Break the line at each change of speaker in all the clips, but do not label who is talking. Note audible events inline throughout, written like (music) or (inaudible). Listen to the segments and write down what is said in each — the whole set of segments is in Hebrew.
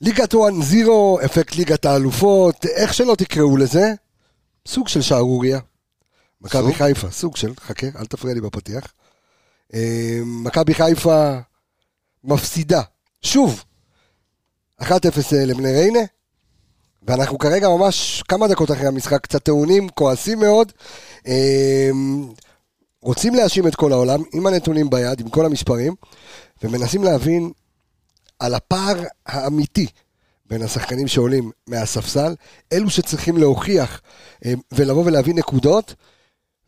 ליגת 1-0, אפקט ליגת האלופות, איך שלא תקראו לזה, סוג של שערוריה. מכבי
סוג?
חיפה, סוג של, חכה, אל תפריע לי בפתיח. אה, מכבי חיפה מפסידה, שוב, 1-0 לבני ריינה, ואנחנו כרגע ממש כמה דקות אחרי המשחק, קצת טעונים, כועסים מאוד. אה, רוצים להאשים את כל העולם, עם הנתונים ביד, עם כל המספרים, ומנסים להבין על הפער האמיתי בין השחקנים שעולים מהספסל, אלו שצריכים להוכיח אה, ולבוא ולהביא נקודות,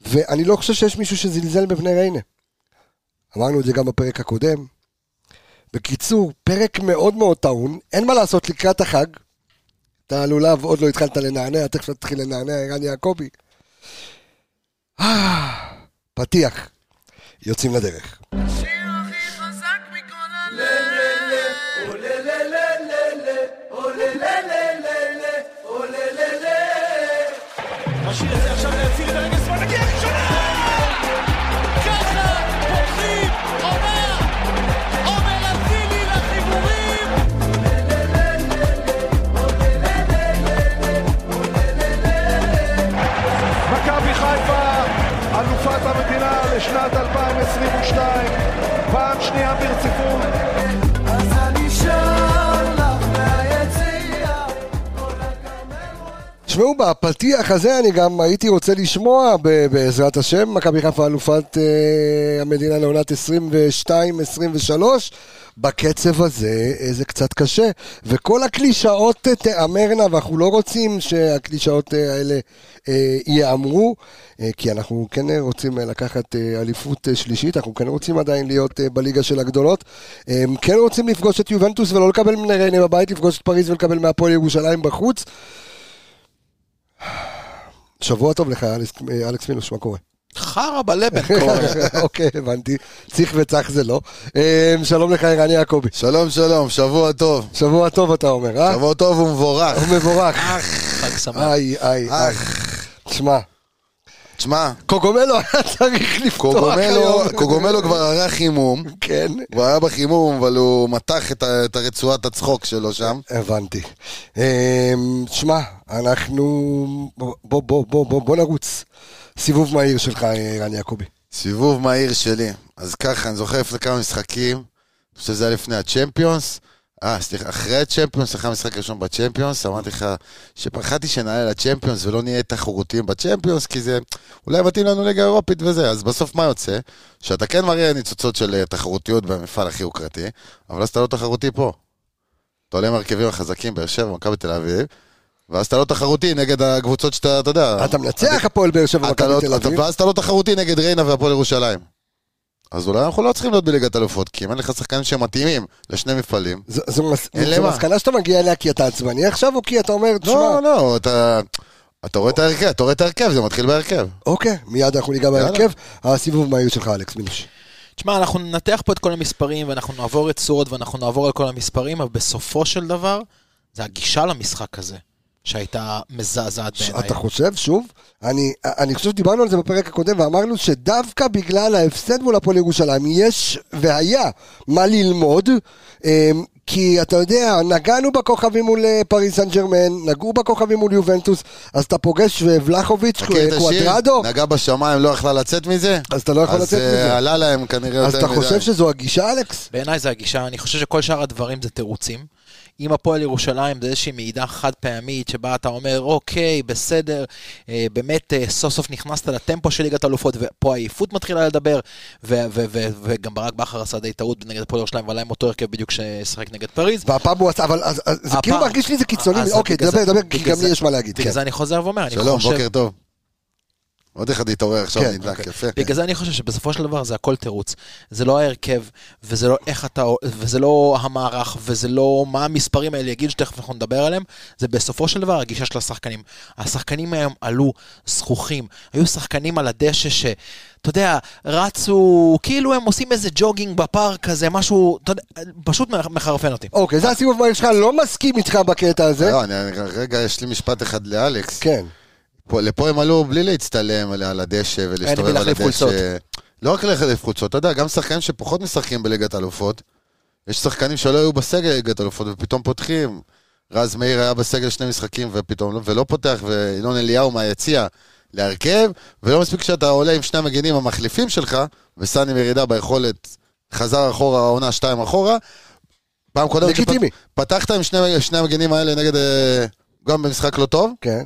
ואני לא חושב שיש מישהו שזלזל בבני ריינה. אמרנו את זה גם בפרק הקודם. בקיצור, פרק מאוד מאוד טעון, אין מה לעשות לקראת החג. אתה לולב, עוד לא התחלת לנענע, תכף תתחיל לנענע, ערן יעקבי. אה, פתיח, יוצאים לדרך.
השיר הכי חזק מכל הלב.
משאיר את זה עכשיו להציר את הרגל שמאל, נגיע ראשונה! ככה פותחים עונה! עומר אצילי לחיבורים!
מכבי חיפה, אלופת המדינה לשנת 2022, פעם שנייה ברציפות.
אז אני שר לך מהיציע. כל הכרמל רואה
תשמעו, בפתיח הזה אני גם הייתי רוצה לשמוע, ב- בעזרת השם, מכבי חיפה אלופת אה, המדינה לעונת 22-23. בקצב הזה אה, זה קצת קשה, וכל הקלישאות אה, תיאמרנה, ואנחנו לא רוצים שהקלישאות אה, האלה אה, ייאמרו, אה, כי אנחנו כן אה, רוצים אה, לקחת אה, אליפות אה, שלישית, אנחנו כן רוצים עדיין להיות אה, בליגה של הגדולות, אה, כן רוצים לפגוש את יובנטוס ולא לקבל מן ריינה בבית, לפגוש את פריז ולקבל מהפועל ירושלים בחוץ. שבוע טוב לך, אלכס, אה, אלכס מינוס, מה קורה?
חרא בלבן קורה.
(laughs) אוקיי, הבנתי. צריך וצח זה לא. אה, שלום לך, ערן יעקבי.
שלום, שלום, שבוע טוב.
שבוע טוב, אתה אומר, אה?
שבוע טוב ומבורך.
הוא
(laughs)
מבורך.
חג שמח.
איי, איי, איי.
אך,
תשמע,
תשמע,
קוגומלו (laughs) היה צריך לפתוח
קוגומלו-
היום.
קוגומלו כבר ערך חימום.
כן,
הוא היה בחימום, אבל הוא מתח את ה- את הרצועת הצחוק שלו שם.
הבנתי. אה, שמע, אנחנו... בוא, בוא, בוא, בוא, בוא נרוץ. סיבוב מהיר שלך, אה, ערן יעקבי.
סיבוב מהיר שלי. אז ככה, אני זוכר לפני כמה משחקים, אני חושב שזה היה לפני הצ'מפיונס. אה, סליחה, אחרי הצ'מפיונס, אחרי המשחק הראשון בצ'מפיונס, אמרתי לך שפחדתי שנעלה לצ'מפיונס ולא נהיה תחרותיים בצ'מפיונס, כי זה אולי מתאים לנו ליגה אירופית וזה. אז בסוף מה יוצא? שאתה כן מראה ניצוצות של אה, תחרותיות במפעל הכי יוקרתי, אבל אז אתה לא תחרותי פה. אתה עולה עם הרכבים החזקים, באר שבע, מכבי תל אביב, ואז אתה לא תחרותי נגד הקבוצות שאתה, אתה יודע...
אתה מנצח הפועל באר שבע
אתה
ומכבי
לא,
תל
אתה,
אביב.
ואז אתה לא תחרותי נגד ריינה והפועל ירושלים. אז אולי אנחנו לא צריכים להיות בליגת אלופות, כי אם אין לך שחקנים שמתאימים לשני מפעלים...
זו- זו מס-
אין
זו
למה.
מסקנה שאתה מגיע אליה כי אתה עצבני עכשיו, או כי אתה אומר, תשמע,
לא, לא, אתה, אתה רואה את ההרכב, אתה רואה את ההרכב, זה מתחיל בהרכב.
אוקיי, מיד אנחנו ניגע בהרכב. הסיבוב מהיר שלך, אלכס מינוש.
תשמע, אנחנו ננתח פה את כל המספרים, ואנחנו נעבור רצועות, ואנחנו נעבור על כל המספרים, אבל בסופו של דבר, זה הגישה למשחק הזה, שהייתה מזעזעת בעיניי.
אתה חושב, שוב, אני, אני חושב שדיברנו על זה בפרק הקודם, ואמרנו שדווקא בגלל ההפסד מול הפועל ירושלים, יש והיה מה ללמוד, אמ, כי אתה יודע, נגענו בכוכבים מול אה, פריס סן ג'רמן, נגעו בכוכבים מול יובנטוס, אז אתה פוגש אה, ולחוביץ',
מכיר את השיר?
קוואדרדו,
נגע בשמיים, לא יכלה לצאת מזה?
אז אתה לא יכול לצאת
אז אה,
מזה.
עלה להם כנראה
אז אתה
יותר מדי.
חושב שזו הגישה, אלכס?
בעיניי זה הגישה, אני חושב שכל שאר הדברים זה תירוצים. אם הפועל ירושלים זה איזושהי מעידה חד פעמית שבה אתה אומר, אוקיי, בסדר, אה, באמת אה, סוף סוף נכנסת לטמפו של ליגת אלופות, ופה העייפות מתחילה לדבר, ו- ו- ו- וגם ברק בכר עשה די טעות נגד הפועל ירושלים, ועלה עם אותו הרכב בדיוק ששיחק נגד פריז.
והפעם הוא עשה, אבל אז- אז זה כאילו
הפעם-
מרגיש לי זה קיצוני,
אז
אוקיי,
בגלל
דבר,
אה, זה-
דבר, כי
בגלל
גם לי
זה-
יש מה להגיד, כן.
בגלל זה אני חוזר ואומר, אני
שלום,
חושב...
בוקר טוב. עוד אחד התעורר עכשיו,
כן,
נדלק, יפה.
בגלל זה אני חושב שבסופו של דבר זה הכל תירוץ. זה לא ההרכב, וזה לא איך אתה, וזה לא המערך, וזה לא מה המספרים האלה יגידו שתכף אנחנו נדבר עליהם, זה בסופו של דבר הגישה של השחקנים. השחקנים היום עלו זכוכים, היו שחקנים על הדשא ש... אתה יודע, רצו, כאילו הם עושים איזה ג'וגינג בפארק כזה, משהו, אתה יודע, פשוט מחרפן אותי.
אוקיי, זה הסיבוב מהיר שלך, לא מסכים איתך בקטע הזה.
אה,
לא, אני- רגע, יש לי משפט אחד לאלכס.
כן.
פה, לפה הם עלו בלי להצטלם על- על הדשא
אין למי
ולהסתובב על
להחליף
הדשא.
חולצות.
לא רק להחליף חולצות, אתה יודע, גם שחקנים שפחות משחקים בליגת אלופות, יש שחקנים שלא היו בסגל ליגת אלופות ופתאום פותחים. רז מאיר היה בסגל שני משחקים ופתאום לא, ולא פותח, וינון אליהו מהיציע להרכב, ולא מספיק שאתה עולה עם שני המגינים המחליפים שלך, וסני מירידה ביכולת חזר אחורה, העונה שתיים אחורה. פעם קודמת
לגיטימי.
שפתחת עם שני, שני המגינים האלה נגד, אה, גם במשחק לא טוב,
כן.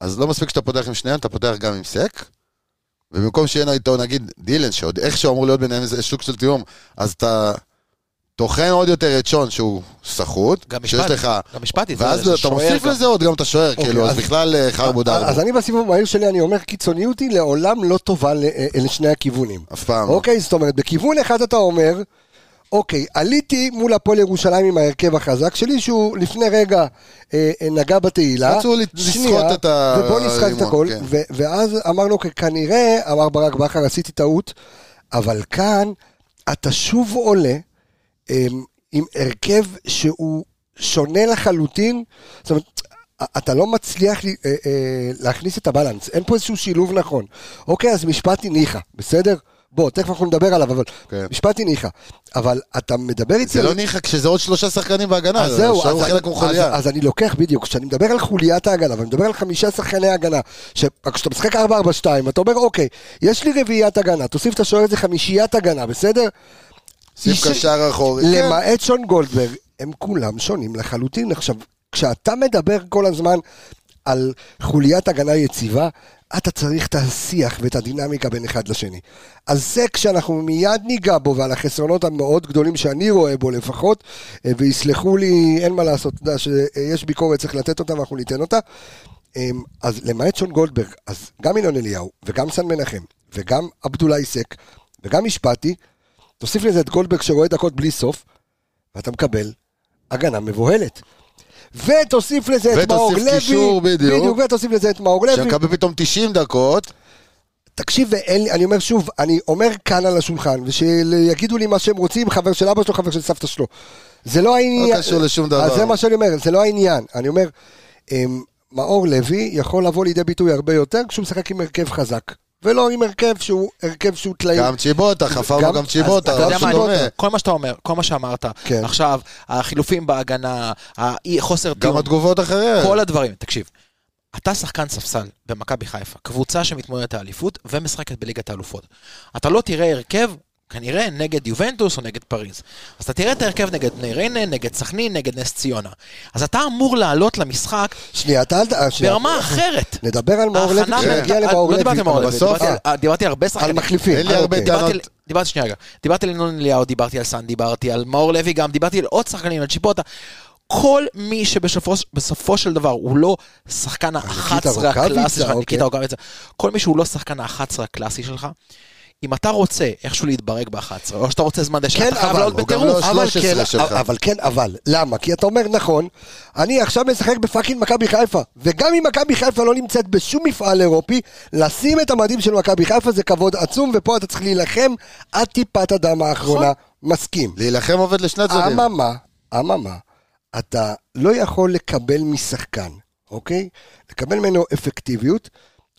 אז לא מספיק שאתה פותח עם שניהם, אתה פותח גם עם סק. ובמקום שיהיה לו איתו, נגיד, דילן, שעוד איכשהו אמור להיות ביניהם איזה שוק של תיאום, אז אתה טוחן עוד יותר את שון, שהוא סחוט,
גם
שיש
משפטי,
לך...
גם משפטי, זה-
ואז
זה
אתה
שוער
מוסיף
גם.
לזה עוד גם את השוער, כאילו,
אוקיי, אז-
אז בכלל אה, חרבו דרבו.
אז אני בסיבוב המהיר שלי, אני אומר, קיצוניות היא לעולם לא טובה ל- אה, לשני הכיוונים.
אף פעם. לא.
אוקיי, זאת אומרת, בכיוון אחד אתה אומר, אוקיי, עליתי מול הפועל ירושלים עם ההרכב החזק שלי, שהוא לפני רגע אה, אה, נגע בתהילה.
רצו ל-
שנייה,
לסחוט את ה-
ובוא נסחט את
הרימון,
הכל.
כן.
ו- ואז אמרנו, "אוקיי, כנראה, אמר ברק בכר, עשיתי טעות, אבל כאן אתה שוב עולה אמ, עם הרכב שהוא שונה לחלוטין. זאת אומרת, אתה לא מצליח לי- אה, אה, להכניס את הבלנס, אין פה איזשהו שילוב נכון. אוקיי, אז משפטי ניחא, בסדר? בוא, תכף אנחנו נדבר עליו, אבל
כן.
משפטי ניחא. אבל אתה מדבר איתי...
זה
על-
לא ניחא כשזה עוד שלושה שחקנים בהגנה,
אז זהו,
שהוא
אז,
חלק כמו
אז,
חוליה.
אז אני לוקח בדיוק, כשאני מדבר על חוליית ההגנה, ואני מדבר על חמישה שחקני הגנה, כשאתה משחק 4-4-2, אתה אומר, אוקיי, יש לי רביעיית הגנה, תוסיף את השוער הזה חמישיית הגנה, בסדר?
סיף
איש-
קשר אחורי. כן.
למעט שון גולדברג, הם כולם שונים לחלוטין. עכשיו, כשאתה מדבר כל הזמן על חוליית הגנה יציבה, אתה צריך את השיח ואת הדינמיקה בין אחד לשני. אז זה כשאנחנו מיד ניגע בו ועל החסרונות המאוד גדולים שאני רואה בו לפחות, אה, ויסלחו לי, אין מה לעשות, אתה יודע שיש ביקורת, צריך לתת אותה ואנחנו ניתן אותה. אמ, אז למעט שון גולדברג, אז גם ינון אליהו, וגם סן מנחם, וגם עבדולאי סק, וגם משפטי, תוסיף לזה את גולדברג שרואה דקות בלי סוף, ואתה מקבל הגנה מבוהלת. ותוסיף לזה את
ותוסיף
מאור לוי,
קישור, בדיוק.
בדיוק, ותוסיף לזה את מאור לוי,
שמקבל פתאום 90 דקות,
תקשיב, ואין לי, אני אומר שוב, אני אומר כאן על השולחן, ושיגידו לי מה שהם רוצים, חבר של אבא שלו, חבר של סבתא שלו. זה לא העניין.
קשור לשום דבר.
אז זה מה שאני אומר, זה לא העניין. אני אומר, אמ, מאור לוי יכול לבוא לידי ביטוי הרבה יותר כשהוא משחק עם הרכב חזק, ולא עם הרכב שהוא, הרכב שהוא טלאי.
גם צ'יבוטה, חפרנו
גם-
גם
אז
צ'יבוטה,
אתה יודע
משהו
מה,
דומה.
אני- כל מה שאתה אומר, כל מה שאמרת,
כן.
עכשיו, החילופים בהגנה, האי- חוסר
גם
תיאום,
התגובות אחריה.
כל הדברים, תקשיב. אתה שחקן ספסל במכבי חיפה, קבוצה שמתמודדת האליפות ומשחקת בליגת האלופות. אתה לא תראה הרכב, כנראה, נגד יובנטוס או נגד פריז. אז אתה תראה את ההרכב נגד בני ריינה, נגד סכנין, נגד נס ציונה. אז אתה אמור לעלות למשחק
שנייה, אתה אל ת... אה, שנייה.
ברמה אחרת.
נדבר על מאור לוי,
ההכנה
כשנגיע
מנטלית-
למאור
לא
לוי.
דיברתי על מאור לוי,
בסוף-
דיברתי על- דיברתי על הרבה
על
שחקנים.
מחליפים.
אין לי
אה,
הרבה
אוקיי.
טענות.
דיברתי, על- דיברתי שנייה רגע, דיברתי על ינון אליהו, דיברתי על סאן, דיברתי על מאור לוי גם, דיברתי על עוד שחקנים, על צ'יפוטה. כל מי שבסופו בסופו של דבר הוא לא שחקן ה-11 הקלאסי
רוקאביצה,
שלך,
אוקיי.
ניקיטה רוקאביצה, כל מי שהוא לא שחקן ה-11 הקלאסי שלך, אם אתה רוצה איכשהו להתברג ב-11, או שאתה רוצה זמן דשא,
כן,
אתה חייב
אבל,
לעלות
הוא גם
בטירוף.
לא
אבל
13
כן,
שלך.
אבל כן, אבל, למה? כי אתה אומר, נכון, אני עכשיו משחק בפאקינג מכבי חיפה, וגם אם מכבי חיפה לא נמצאת בשום מפעל אירופי, לשים את המדים של מכבי חיפה זה כבוד עצום, ופה אתה צריך להילחם עד טיפת הדם האחרונה. מסכים.
להילחם עובד לשני הצדדים.
אממה, אממה, אתה לא יכול לקבל משחקן, אוקיי? לקבל ממנו אפקטיביות,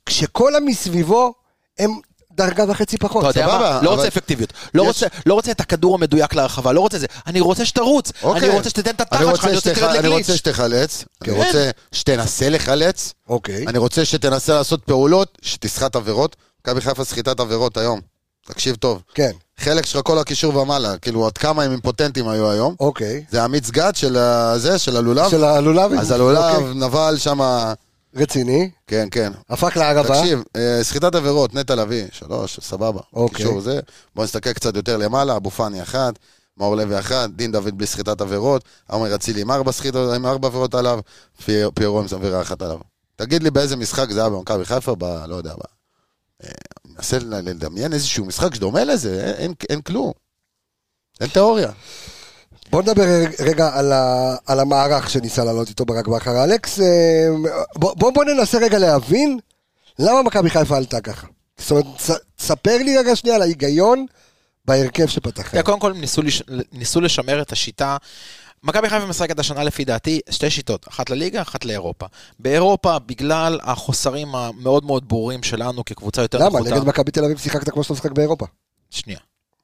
כשכל המסביבו הם דרגה וחצי פחות.
אתה יודע
סבבה,
מה? לא
אבל-
רוצה אפקטיביות, לא
יש-
רוצה- לא רוצה את הכדור המדויק להרחבה, לא רוצה זה, אני רוצה שתרוץ, אני
אוקיי.
רוצה שתיתן את
אני
התחת שלך,
רוצה
אני רוצה
שתח-
שתרד
אני
לגליץ'.
רוצה שתחלץ, אני
כן.
רוצה שתנסה לחלץ,
אוקיי.
אני רוצה שתנסה לעשות פעולות, שתסחט עבירות. מכבי חיפה סחיטת עבירות היום. תקשיב טוב.
כן,
חלק שלך כל הקישור ומעלה, כאילו עד כמה הם אימפוטנטים היו היום.
אוקיי.
זה המיץ גת של ה- זה, של הלולב.
של הלולבים?
אז הלולב,
אוקיי.
נבל שמה...
רציני,
כן, כן.
הפך לערבה.
תקשיב, אה, סחיטת עבירות, נטע לביא, שלוש, סבבה.
אוקיי.
קישור זה. בוא נסתכל קצת יותר למעלה, אבו פאני אחת, מאור לוי אחת, דין דוד בלי סחיטת עבירות, עומר אצילי עם ארבע סחיטות, עם ארבע עבירות עליו, פי- פיירו עם עבירה אחת עליו. תגיד לי באיזה משחק זה היה במכבי חיפה, ב... לא יודע, ב... אה, אני מנסה ל- לדמיין איזשהו משחק שדומה לזה, אה, אין- אין- אין כלום. אין תיאוריה.
בוא נדבר רגע על, ה, על המערך שניסה לעלות איתו ברק בכר. אלכס, אה, בוא, בוא, בוא ננסה רגע להבין למה מכבי חיפה עלתה ככה. זאת אומרת, ס- ספר לי רגע שנייה על ההיגיון בהרכב שפתח.
תראה, כן, קודם כל ניסו, לש... ניסו לשמר את השיטה. מכבי חיפה משחקת השנה לפי דעתי שתי שיטות, אחת לליגה, אחת לאירופה. באירופה, בגלל החוסרים המאוד מאוד ברורים שלנו כקבוצה יותר
למה?
נחותה...
נגד מכבי תל אביב שיחקת כמו שאתה משחק באירופה.
שנייה.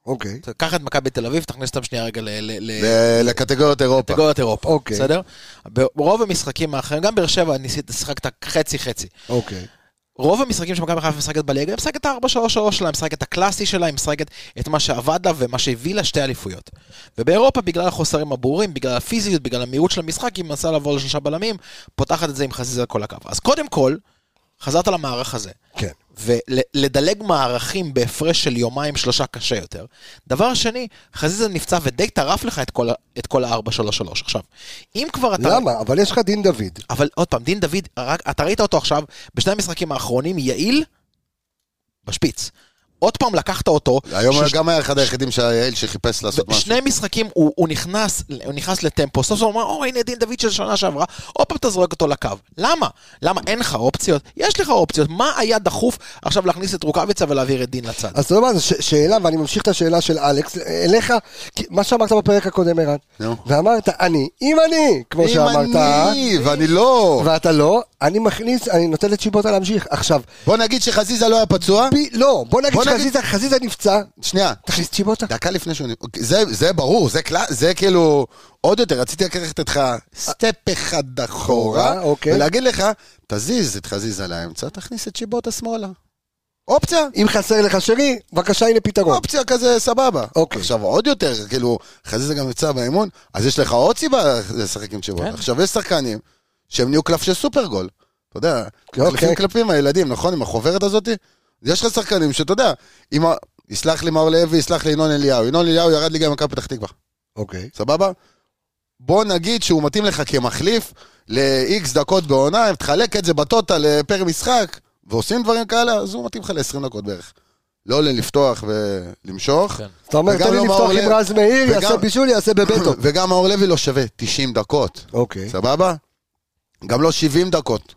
אוקיי.
קח את מכבי תל אביב, תכניס אותם שנייה רגע ל- ל- ל-
ל- לקטגוריית אירופה.
קטגוריית אירופה,
אוקיי.
בסדר? ברוב המשחקים האחרים, גם באר שבע ניסית, שיחקת חצי-חצי.
אוקיי.
רוב המשחקים שמכבי חיפה משחקת בליגה, היא משחקת את ה-4-3-3 שלה, היא משחקת את הקלאסי שלה, היא משחקת את מה שעבד לה ומה שהביא לה שתי אליפויות. ובאירופה, בגלל החוסרים הברורים, בגלל הפיזיות, בגלל המהירות של המשחק, היא מנסה לעבור לשלושה בלמים, פותחת את זה עם חזיזה על כל הקו. אז קודם כל, חזרת למערך הזה.
כן.
ולדלג מערכים בהפרש של יומיים שלושה קשה יותר. דבר שני, חזיזה נפצע ודי טרף לך את כל ה- את כל ה-4-3-3. עכשיו, אם כבר אתה...
למה? אבל יש לך דין דוד.
אבל עוד פעם, דין דוד, רק, אתה ראית אותו עכשיו בשני המשחקים האחרונים, יעיל בשפיץ. עוד פעם לקחת אותו,
היום
שש-
גם היה אחד היחידים שהיה יעל שחיפש לעשות משהו.
שני משחקים הוא, הוא, נכנס, הוא נכנס לטמפו, סוף סוף הוא אמר, או הנה דין דוד של שנה שעברה, עוד פעם אתה זורק אותו לקו. למה? למה אין לך אופציות? יש לך אופציות, מה היה דחוף עכשיו להכניס את רוקאביצה ולהעביר את דין לצד?
אז אתה יודע מה, זו ש- שאלה, ואני ממשיך את השאלה של אלכס, אליך, כי- מה שאמרת בפרק הקודם, ערן,
נו.
ואמרת, אני, אם אני, כמו
אם
שאמרת,
אני, ואני לא.
ואתה לא, אני מכניס, אני נותן לצ'יבוטה להמשיך. עכשיו,
בוא נגיד שחזיזה לא היה פצוע.
פי- לא, בוא נגיד
בוא נגיד-
שחזיזה חזיזה נפצע,
שנייה,
תכניס צ'יבוטה.
דקה לפני שהוא... נ- זה, זה ברור, זה, קלה, זה כאילו... עוד יותר, רציתי לקחת אותך סטפ אחד אחורה,
אחורה, אוקיי.
ולהגיד לך, תזיז את חזיזה לאמצע, תכניס את שיבוטה שמאלה. אופציה,
אם חסר לך שרי, בבקשה, הנה פתרון.
אופציה כזה סבבה.
אוקיי.
עכשיו עוד יותר, כאילו, חזיזה גם נמצא באימון, אז יש לך עוד סיבה לשחק עם שיבוטה.
כן.
עכשיו, יש שחקנים שהם נהיו קלף של סופרגול. אתה יודע, מחליפים קלפים הילדים, נכון? עם החוברת הזאת? יש לך שחקנים שאתה יודע, אם ה- יסלח לי מאור לוי, יסלח לי ינון אליהו. ינון אליהו ירד ליגה עם מכבי פתח תקווה.
אוקיי.
סבבה? בוא נגיד שהוא מתאים לך כמחליף ל-X דקות בעונה, אם תחלק את זה בטוטל פר משחק, ועושים דברים כאלה, אז הוא מתאים לך ל-20 דקות בערך. לא לפתוח ולמשוך.
כן.
אתה אומר,
וגם
תן לי
לא
לפתוח
מאור
עם
לב-
רז מאיר,
וגם-
יעשה בישול, יעשה
(laughs)
בבטו.
(clears throat) וגם מאור לוי לא שווה 90 דקות,
אוקיי.
סבבה? גם לא 70 דקות.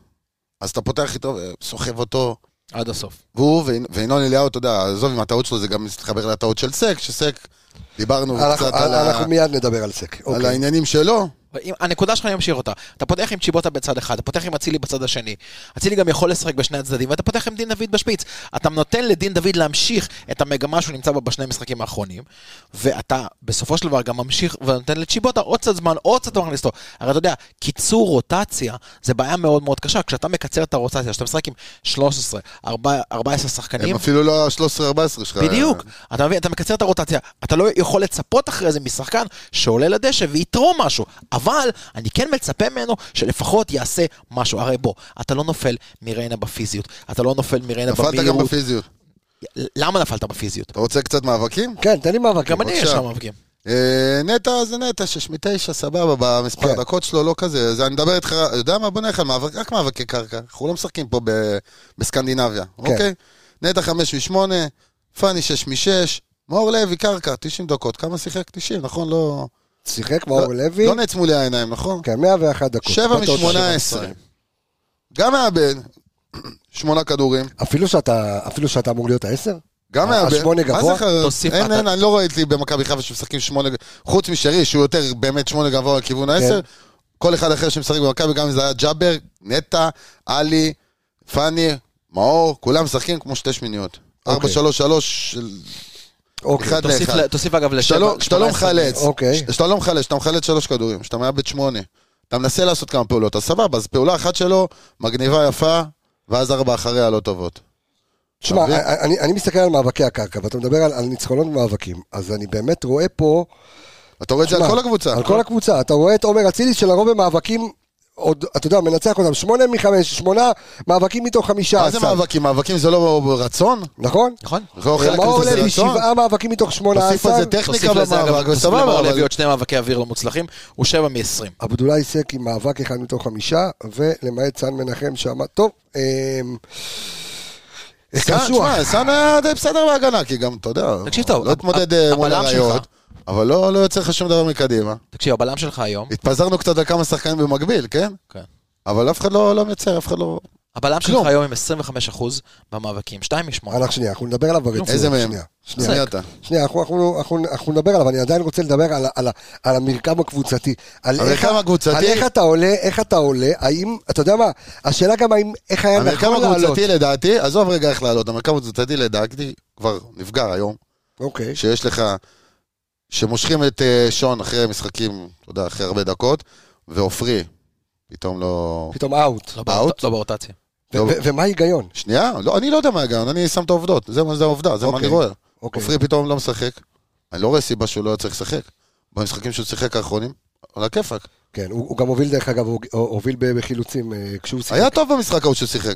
אז אתה פותח איתו, אה, סוחב אותו,
עד הסוף.
והוא וינ- וינון אליהו, אתה יודע, עזוב עם הטעות שלו, זה גם מתחבר לטעות של סק, שסק, דיברנו
אנחנו- אה,
קצת על, ה...
אנחנו מיד נדבר על סק.
על
אוקיי.
העניינים שלו.
אם- הנקודה שלך אני אמשיך אותה. אתה פותח עם צ'יבוטה בצד אחד, אתה פותח עם אצילי בצד השני. אצילי גם יכול לשחק בשני הצדדים, ואתה פותח עם דין דוד בשפיץ. אתה נותן לדין דוד להמשיך את המגמה שהוא נמצא בה בשני המשחקים האחרונים, ואתה בסופו של דבר גם ממשיך ונותן לצ'יבוטה עוד קצת זמן, עוד קצת זמן לסטור. הרי אתה יודע, קיצור רוטציה זה בעיה מאוד מאוד קשה. כשאתה מקצר את הרוטציה, כשאתה משחק עם 13, 14 שחקנים,
הם אפילו לא ה-13-14 שלך.
בדיוק. אתה מבין, אתה מקצר את הרוטציה. אתה לא יכול לצפות אחרי זה משחקן שעולה לדשא ויתרום משהו. אבל אני כן מצפה ממנו שלפחות יעשה משהו. הרי בוא, אתה לא נופל מריינה בפיזיות. אתה לא נופל מריינה במהירות.
נפלת גם בפיזיות.
למה נפלת בפיזיות?
אתה רוצה קצת מאבקים?
כן, תן לי מאבק.
גם אני יש
בבקשה.
לך מאבקים.
אה, נטע זה נטע, שש מתשע, סבבה, במספר
כן.
הדקות שלו, לא כזה. זה, אני מדבר איתך, יודע מה? בוא נלך על מאבק, רק מאבקי קרקע. אנחנו לא משחקים פה ב, בסקנדינביה,
כן.
אוקיי? נטע חמש משמונה, פאני שש משש, מאור לוי, קרקע, 90 דקות. כמה שיחק? 90, נכון? לא...
שיחק מאור
לא-
לוי.
לא נעצמו לי העיניים, נכון?
כן, 101 דקות.
שבע
בטוטו.
משמונה עשרה. גם מאבד, שמונה כדורים.
אפילו שאתה, אפילו שאתה אמור להיות העשר?
גם
ה-
מאבד.
השמונה אה, גבוה?
מה זה חרא?
תוסיף,
אין,
אתה-
אין, אני לא ראיתי במכבי חיפה שמשחקים שמונה, ג- חוץ משרי, שהוא יותר באמת שמונה גבוה לכיוון
כן.
העשר. כל אחד אחר שמשחק במכבי, גם אם זה היה ג'אבר, נטע, עלי, פאני, מאור, כולם משחקים כמו שתי שמיניות. ארבע,
אוקיי.
שלוש, שלוש, של-
אוקיי.
אחד
תוסיף
לאחד.
ל- תוסיף אגב לשבע.
כשאתה לא- כשאתה לא
18.
מחלץ,
אוקיי.
כש- כשאתה לא מחלץ, כשאתה מחלץ שלוש כדורים, כשאתה מאבד שמונה, אתה מנסה לעשות כמה פעולות, אז סבבה, אז פעולה אחת שלו, מגניבה יפה, ואז ארבע אחריה לא טובות.
תשמע,
אתה מבין?
אני, אני מסתכל על מאבקי הקרקע, ואתה מדבר על, על ניצחונות במאבקים, אז אני באמת רואה פה...
אתה רואה את זה על
תשמע,
כל הקבוצה.
על כל הקבוצה. אתה רואה את עומר אצילי שלרוב במאבקים, עוד, אתה יודע, מנצח אותם שמונה מחמש, שמונה מאבקים מתוך חמישה
מה זה
עשר.
מאבקים? מאבקים זה לא רצון?
נכון?
נכון.
לא חלק
מאור
מזה זה
לוי,
רצון?
שבעה מאבקים מתוך שמונה
תוסיף על
עשר.
זה טכניקה
תוסיף לזה אגב,
במאבק,
תוסיף
וסבבה,
למאור לוי
אבל...
עוד שני מאבקי אוויר לא מוצלחים, הוא שבע מ-20.
עבדולאי סק עם מאבק אחד מתוך חמישה, ולמעט סאן מנחם שעמד... טוב, אמ...
סאן,
קשוח.
תשמע, סאן היה די בסדר בהגנה, כי גם, אתה יודע,
תקשיב טוב,
לא
הב-
התמודד
הב-
אה, מול
הבלם
הראיות,
שלך.
אבל לא לא יוצא לך שום דבר מקדימה.
תקשיב, הבלם שלך היום,
התפזרנו קצת על כמה שחקנים במקביל, כן?
כן.
אבל אף אחד לא לא מייצר, אף אחד לא...
הבלם
כלום.
שלך היום עם 25% במאבקים, 2 מ-8.
אנחנו שנייה, אנחנו נדבר עליו ברצינות.
איזה מהם?
שנייה, שנייה.
שנייה אתה.
שנייה, אנחנו, אנחנו, אנחנו, אנחנו נדבר עליו, אני עדיין רוצה לדבר על, ה- על, ה- על המרקם הקבוצתי. על
המרקם
איך ה-
הקבוצתי-
על איך אתה עולה, איך אתה עולה, האם, אתה יודע מה, השאלה גם האם, איך היה
המרקם
נכון לעלות.
הקבוצתי לדעתי, עזוב רגע איך לעלות, המרקם הקבוצתי לדעתי כבר נפגע היום.
אוקיי.
שיש לך, שמושכים את אה, שון אחרי משחקים, אתה יודע, אחרי הרבה דקות, ועופרי, פתאום לא...
פתאום אאוט.
לא
באוט?
באות- לא באוטציה.
ו- ו- ומה ההיגיון?
שנייה, לא, אני לא יודע מה הגאון, אני שם את העובדות, זה מה זה העובדה, זה מה
אוקיי.
אני רואה.
אוקיי.
עופרי פתאום לא משחק, אני לא רואה סיבה שהוא לא היה צריך לשחק. במשחקים שהוא שיחק האחרונים, על הכיפאק.
כן, הוא הוא גם הוביל דרך אגב, הוא הוא הוביל ב- בחילוצים אה, כשהוא שיחק.
היה טוב במשחק ההוא שהוא שיחק.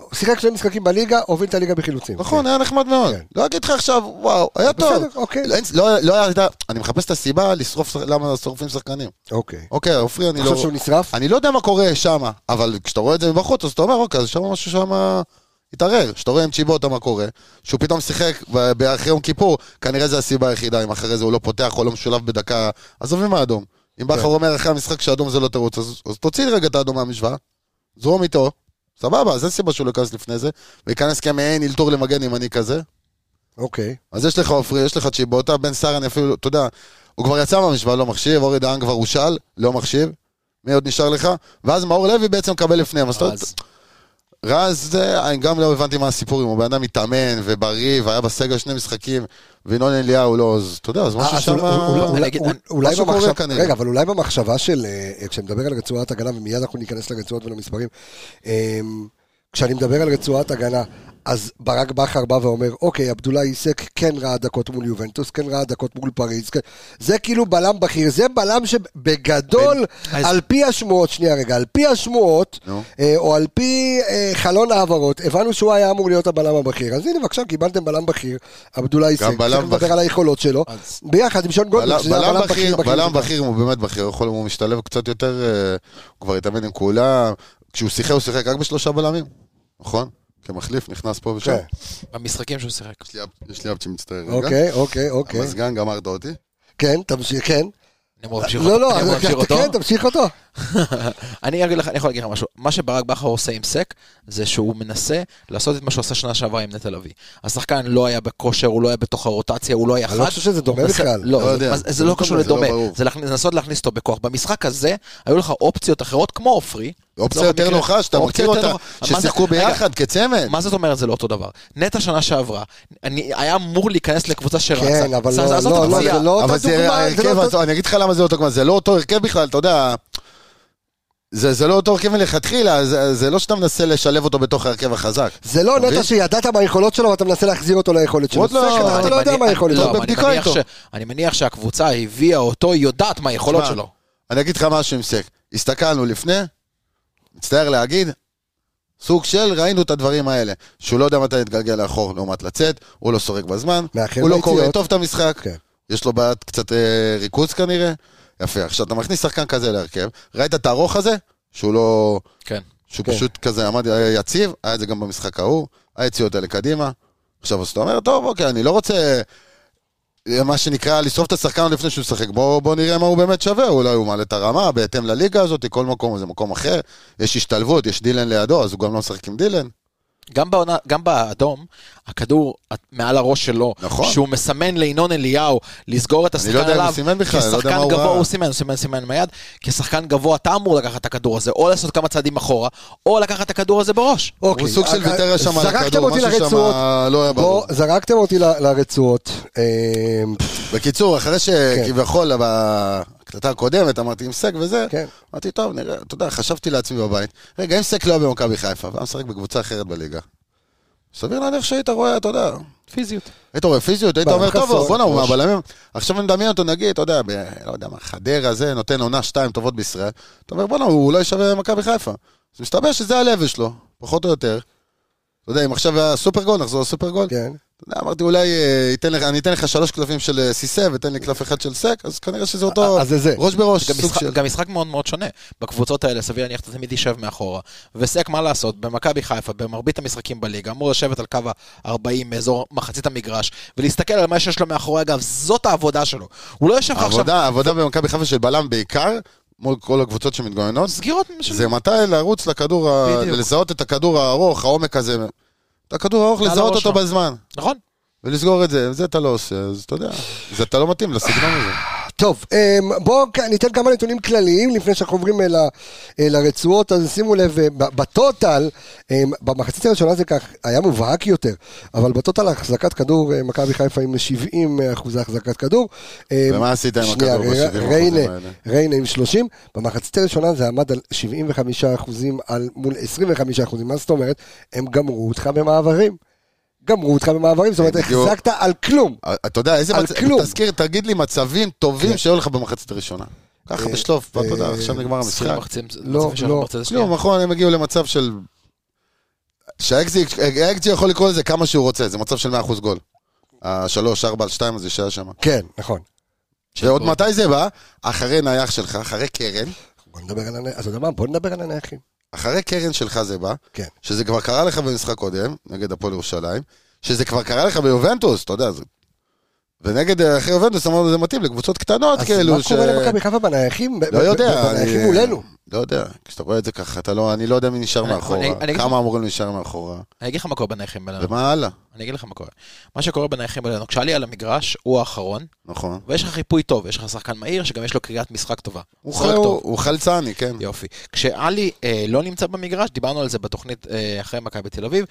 הוא שיחק שני משחקים בליגה, הוביל את הליגה בחילוצים.
נכון,
כן.
היה נחמד מאוד.
כן.
לא אגיד לך עכשיו, וואו, היה טוב.
בסדר, אוקיי.
לא, אין- לא- לא היה, אני מחפש את הסיבה לשרוף, שח- למה שורפים שחקנים.
אוקיי.
אוקיי, עופרי, אני
אתה
לא...
חושב שהוא נשרף?
אני לא יודע מה קורה שם, אבל כשאתה רואה את זה מבחוץ, אז אתה אומר, אוקיי, אז שם משהו שם התערער. כשאתה רואה עם צ'יבוטה מה קורה, שהוא פתאום שיחק ב- ב- אחרי יום כיפור, כנראה זו הסיבה היחידה, אם אחרי זה הוא לא פותח או לא משולב בדקה, עזוב עם האדום. אם בכר אומר אחרי המשחק שאדום זה לא תירוץ, אז אז תוציא רגע את האדום מהמשוואה, זרום איתו, סבבה, אז אין סיבה שהוא לא ייכנס לפני זה, וייכנס כמעין אלתור למגן ימני כזה.
אוקיי.
אז יש לך עופרי, יש לך צ'יבוטה, בן סער אני אפילו, אתה יודע, הוא כבר יצא מהמשוואה, לא מחשיב, אורי דהן כבר הושאל, לא מחשיב, מי עוד נשאר לך? ואז מאור לוי בעצם מקבל לפניהם, אז אתה...
אז-
רז, זה, אני גם לא הבנתי מה הסיפור, אם הוא בן אדם מתאמן ובריא, והיה בסגל שני משחקים, וינון אליהו לא, אז אתה יודע, אז משהו
אה, אז
שם...
אולי- אולי-
אני אגיד,
אולי-
אני-
אולי
משהו קורה
במחשב-
כנראה.
רגע, אבל אולי במחשבה של, אה, כשנדבר על רצועת הגנה, ומיד אנחנו ניכנס לרצועות ולמספרים, אה, כשאני מדבר על רצועת הגנה, אז ברק בכר בא ואומר, אוקיי, עבדולאי איסק כן ראה דקות מול יובנטוס, כן ראה דקות מול פריז, כן. זה כאילו בלם בכיר, זה בלם שבגדול,
אז-
על פי השמועות, שנייה רגע, על פי השמועות,
נו.
אה, או על פי אה, חלון ההעברות, הבנו שהוא היה אמור להיות הבלם הבכיר. אז הנה, בבקשה, קיבלתם בלם בכיר, עבדולאי איסק,
גם בלם
צריך לדבר
בכיר.
על היכולות שלו,
אז-
ביחד עם שון
בלם-
גולדברג, שזה
בלם
הבלם
בכיר,
בכיר.
בלם בכיר, הוא באמת בכיר, הוא יכול- הוא משתלב קצת יותר, אה, הוא כבר התאמן עם כולם, כשהוא שיחק, הוא שיחק רק בשלושה בלמים, נכון? כמחליף, נכנס פה ושם.
כן.
במשחקים שהוא שיחק.
יש לי אפ- יש לי אפצ'י מצטער רגע.
אוקיי, אוקיי, אוקיי.
המזגן, גמרת אותי.
כן, תמשיך, כן.
אני אמור להמשיך
לא,
אותו.
לא,
אני אמור
אז-
להמשיך אותו.
כן, תמשיך אותו.
אני אגיד לך, אני יכול להגיד לך משהו. מה שברק בכר עושה עם סק, זה שהוא מנסה לעשות את מה שהוא עשה שנה שעברה עם נטע לביא. השחקן לא היה בכושר, הוא לא היה בתוך הרוטציה, הוא לא היה חד.
אני לא חושב שזה דומה
הוא מנסה-
בכלל.
לא,
לא
זה-
יודע.
מה זה- זה
לא
לא קשור
דומה, זה לא
לדומה.
ברור.
זה להכניס- לנסות להכניס אותו בכוח. במשחק הזה, היו לך אופציות אחרות, כמו עופרי.
אופציה
לא
יותר
במקרה-
נוחה, שאתה
אופציה
מכיר
יותר
אותה,
נוחה. מה זה-
ששיחקו
רגע,
ביחד כצמד.
מה זאת אומרת זה לא אותו דבר? נטע שנה שעברה, אני, היה אמור להיכנס לקבוצה שרצה.
כן, אבל
זה-
לא-
זה- זאת
לא,
הפציעה.
זה לא אותה
אבל זה
דוגמה, זה
ההרכב,
לא
אז
אותו-
אני אגיד לך למה זה לא אותו, זה לא אותו הרכב בכלל, אתה יודע. זה זה לא אותו הרכב מלכתחילה, זה- זה לא שאתה מנסה לשלב אותו בתוך ההרכב החזק.
זה לא
אוקיי.
נטע שידעת מה היכולות שלו ואתה מנסה להחזיר אותו ליכולת שלו.
עוד לא,
זה כזה,
אני
אתה לא יודע
מניח-
מה היכולת
לא,
שלו.
אבל אני
בבדיקה
מניח
איתו.
ש- אני מניח שהקבוצה הביאה אותו, היא יודעת מה היכולות
תשמע,
שלו.
אני אגיד לך משהו עם סק. הסתכלנו לפני, מצטער להגיד, סוג של ראינו את הדברים האלה. שהוא לא יודע מתי להתגלגל לאחור לעומת לצאת, הוא לא סורק בזמן,
מאחר
הוא לא
ביציאות.
קורא טוב את המשחק,
כן.
יש לו בעיית קצת אה, ריכוז כנראה. יפה, עכשיו אתה מכניס שחקן כזה להרכב, ראית את הארוך הזה? שהוא לא...
כן.
שהוא
כן.
פשוט כזה עמד היה יציב, היה את זה גם במשחק ההוא, היציאות האלה קדימה. עכשיו, אז אתה אומר, טוב, אוקיי, אני לא רוצה, אה, מה שנקרא, לשרוף את השחקן עוד לפני שהוא משחק. בואו בוא נראה מה הוא באמת שווה, אולי הוא מעלה את הרמה, בהתאם לליגה הזאת, כל מקום זה מקום אחר. יש השתלבות, יש דילן לידו, אז הוא גם לא משחק עם דילן.
גם, בעונה, גם באדום, הכדור מעל הראש שלו,
נכון.
שהוא מסמן לינון אליהו לסגור את השחקן
לא
עליו,
יודע אם הוא סימן בכלל, אני לא יודע
כשחקן
מה הוא
גבוה,
ראה.
הוא סימן, הוא סימן, סימן עם היד, כשחקן גבוה אתה אמור לקחת את הכדור הזה, או לעשות כמה צעדים אחורה, או לקחת את הכדור הזה בראש.
אוקיי,
הוא סוג של
אה,
ויתר שם על
זרקתם
הכדור,
אותי
משהו שם
לרצועות.
לא היה ברור.
בוא, זרקתם אותי ל- לרצועות. אה,
בקיצור,
כן.
אחרי שכביכול, בהקלטה הקודמת, אמרתי עם סק וזה,
כן.
אמרתי, טוב, נראה, אתה יודע, חשבתי לעצמי בבית, רגע, אם סק לא היה במכבי חיפה, והיה משחק בקבוצה אחרת בליגה, סביר להניח שהיית רואה, אתה יודע,
פיזיות.
היית רואה פיזיות, היית
בלם
אומר,
חסון,
טוב, בואנה, הוא
ראש."
מהבלמים. עכשיו אני מדמיין אותו, נגיד, אתה יודע, ב- לא יודע מה, חדרה זה, נותן עונה שתיים טובות בישראל, אתה אומר, בואנה, הוא אולי שווה מכבי חיפה. אז מסתבר שזה הלבל שלו, פחות או יותר. אתה יודע, אם עכשיו היה סופרגול, נחזור לסופרגול.
כן.
אתה יודע, אמרתי, אולי אה, ייתן לך, אני אתן לך שלוש קלפים של אה, סיסא ותן לי קלף אחד של סק, אז כנראה שזה אותו
אה, אז זה זה.
ראש בראש,
גם
סוג
משחק,
של...
גם משחק מאוד מאוד שונה. בקבוצות האלה סביר להניח אתה תמיד יישב מאחורה. וסק, מה לעשות, במכבי חיפה, במרבית המשחקים בליגה, אמור לשבת על קו ה-40 מאזור מחצית המגרש, ולהסתכל על מה שיש לו מאחורי הגב, זאת העבודה שלו. הוא לא יושב לך עכשיו...
העבודה, העבודה במכבי חיפה של בלם בעיקר, מול כל הקבוצות שמתגוננות,
סגירות של...
זה מתי לרוץ לכדור, ה-
בדיוק.
לזהות את הכדור הארוך, העומק הזה. את הכדור הארוך,
מעל
לזהות
הראש
אותו
שלו.
בזמן,
נכון.
ולסגור את זה, זה אתה לא עושה, אז אתה יודע, זה אתה לא מתאים לסגנון הזה.
טוב, אמ, בואו כ- ניתן כמה נתונים כלליים לפני שאנחנו עוברים אל ה- אל הרצועות, אז שימו לב, אמ, ב- בטוטל, אמ, במחצית הראשונה זה כך, היה מובהק יותר, אבל בטוטל החזקת כדור, אמ, מכבי חיפה עם 70 אחוזי החזקת כדור. אמ,
ומה עשית עם
שנייה,
הכדור
ר-
ב- 70%
ריינה,
האלה?
ריינה עם 30, במחצית הראשונה זה עמד על 75 אחוזים על, מול 25 אחוזים, מה זאת אומרת? הם גמרו אותך במעברים. גמרו אותך במעברים, זאת אומרת,
בדיוק.
החזקת על כלום.
אתה יודע, איזה
על
מצב...
כלום. כן.
תזכיר, תגיד לי מצבים טובים שהיו לך במחצית הראשונה.
אה,
ככה בשלוף, אתה יודע, עכשיו נגמר המשחק.
לא, לא.
כלום, נכון, הם הגיעו למצב של... שהאקזי יכול לקרוא לזה כמה שהוא רוצה, זה מצב של 100% גול. השלוש, ארבע על שתיים הזה שהיה שם.
כן, נכון.
ועוד מתי זה בא? אחרי נייח שלך, אחרי קרן,
בוא נדבר על הנ... אז אתה יודע מה? בוא נדבר על הנייחים.
אחרי קרן שלך זה בא,
כן.
שזה כבר קרה לך במשחק קודם, נגד הפועל ירושלים, שזה כבר קרה לך ביובנטוס, אתה יודע, זה... ונגד אה, אחרי יובנטוס אמרנו זה מתאים לקבוצות קטנות
אז
כאלו
מה קורה למכבי חיפה בנייחים? ב-
כאילו לא
ב-
יודע,
בנייחים
אני-
מולנו.
לא יודע, כשאתה רואה את זה ככה, אתה לא, אני לא יודע מי נשאר
אני-
מאחורה,
אני- אה. אני-
כמה אמורים להישאר מאחורה,
אני אגיד לך מה קורה בנייחים בינינו.
ומה הלאה,
אני אגיד לך מה קורה. מה שקורה בנייחים בינינו, כשעלי על המגרש, הוא האחרון,
נכון.
ויש לך חיפוי טוב, יש לך שחקן מהיר, שגם יש לו קריאת משחק טובה.
הוא
משחק
חל-
טוב.
הוא חלצני, כן.
יופי. כשעלי אה, לא נמצא במגרש, דיברנו על זה בתוכנית אה, אחרי מכבי תל אביב,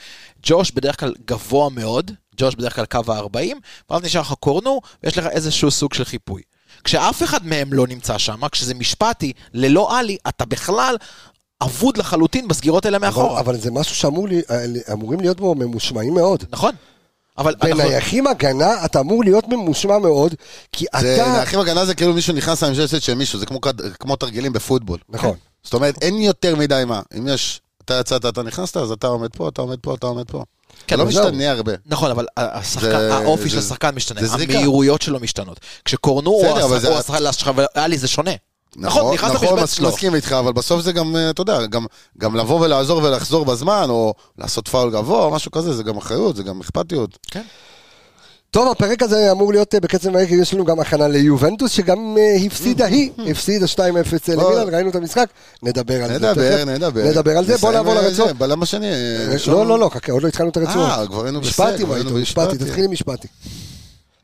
ג'וש בדרך כלל גבוה מאוד, ג'וש בדרך כלל קו ה-40, ואז נשאר לך קורנו, ויש לך איזשהו סוג של חיפוי. כשאף אחד מהם לא נמצא שם, כשזה משפטי, ללא עלי, אתה בכלל אבוד לחלוטין בסגירות האלה
אבל-
מאחורה.
אבל זה משהו שאמורים להיות בו ממושמעים מאוד.
נכון. אבל נכון, אנחנו-
בנייחים הגנה אתה אמור להיות ממושמע מאוד, כי
זה,
אתה...
להרחיב הגנה זה כאילו מישהו נכנס להם ששת של מישהו, זה כמו, כד- כמו תרגילים בפוטבול.
נכון.
זאת אומרת, אין יותר מדי מה. אם יש, אתה יצאת, אתה נכנסת, אז אתה עומד פה, אתה עומד פה, אתה עומד פה.
כן,
כן, לא
אבל
זהו.
משתנה הרבה.
נכון, אבל השחקן,
זה-
האופי
זה-
של השחקן משתנה,
זה זריקה.
המהירויות שלו משתנות. כשקורנו הוא
בסדר, אבל
השח-
זה-
הוא השחקן שלך ואלי זה שונה. נכון, נכנס
נכון,
לחשבון
מס-
שלו.
מסכים איתך, אבל בסוף זה גם, אה, אתה יודע, גם, גם לבוא ולעזור ולחזור בזמן, או לעשות פאול גבוה, או משהו כזה, זה גם אחריות, זה גם אכפתיות.
טוב, הפרק הזה אמור להיות אה, בקצב מהר, כי יש לנו גם הכנה ליובנטוס, שגם אה, הפסידה
(laughs)
היא, הפסידה 2-0 למילן, ראינו את המשחק, נדבר על זה.
נדבר,
תכף.
נדבר.
נדבר על זה, בוא
נסיים
נעבור
על זה,
לרצועות.
בלם השני. אה, ראשון.
לא, לא, לא, חכה, עוד לא התחלנו את הרצועות.
אה, כבר היינו
משפטי,
בסדר,
מה
היינו
איתו? משפטי,
במשפטי.
תתחיל עם משפטי.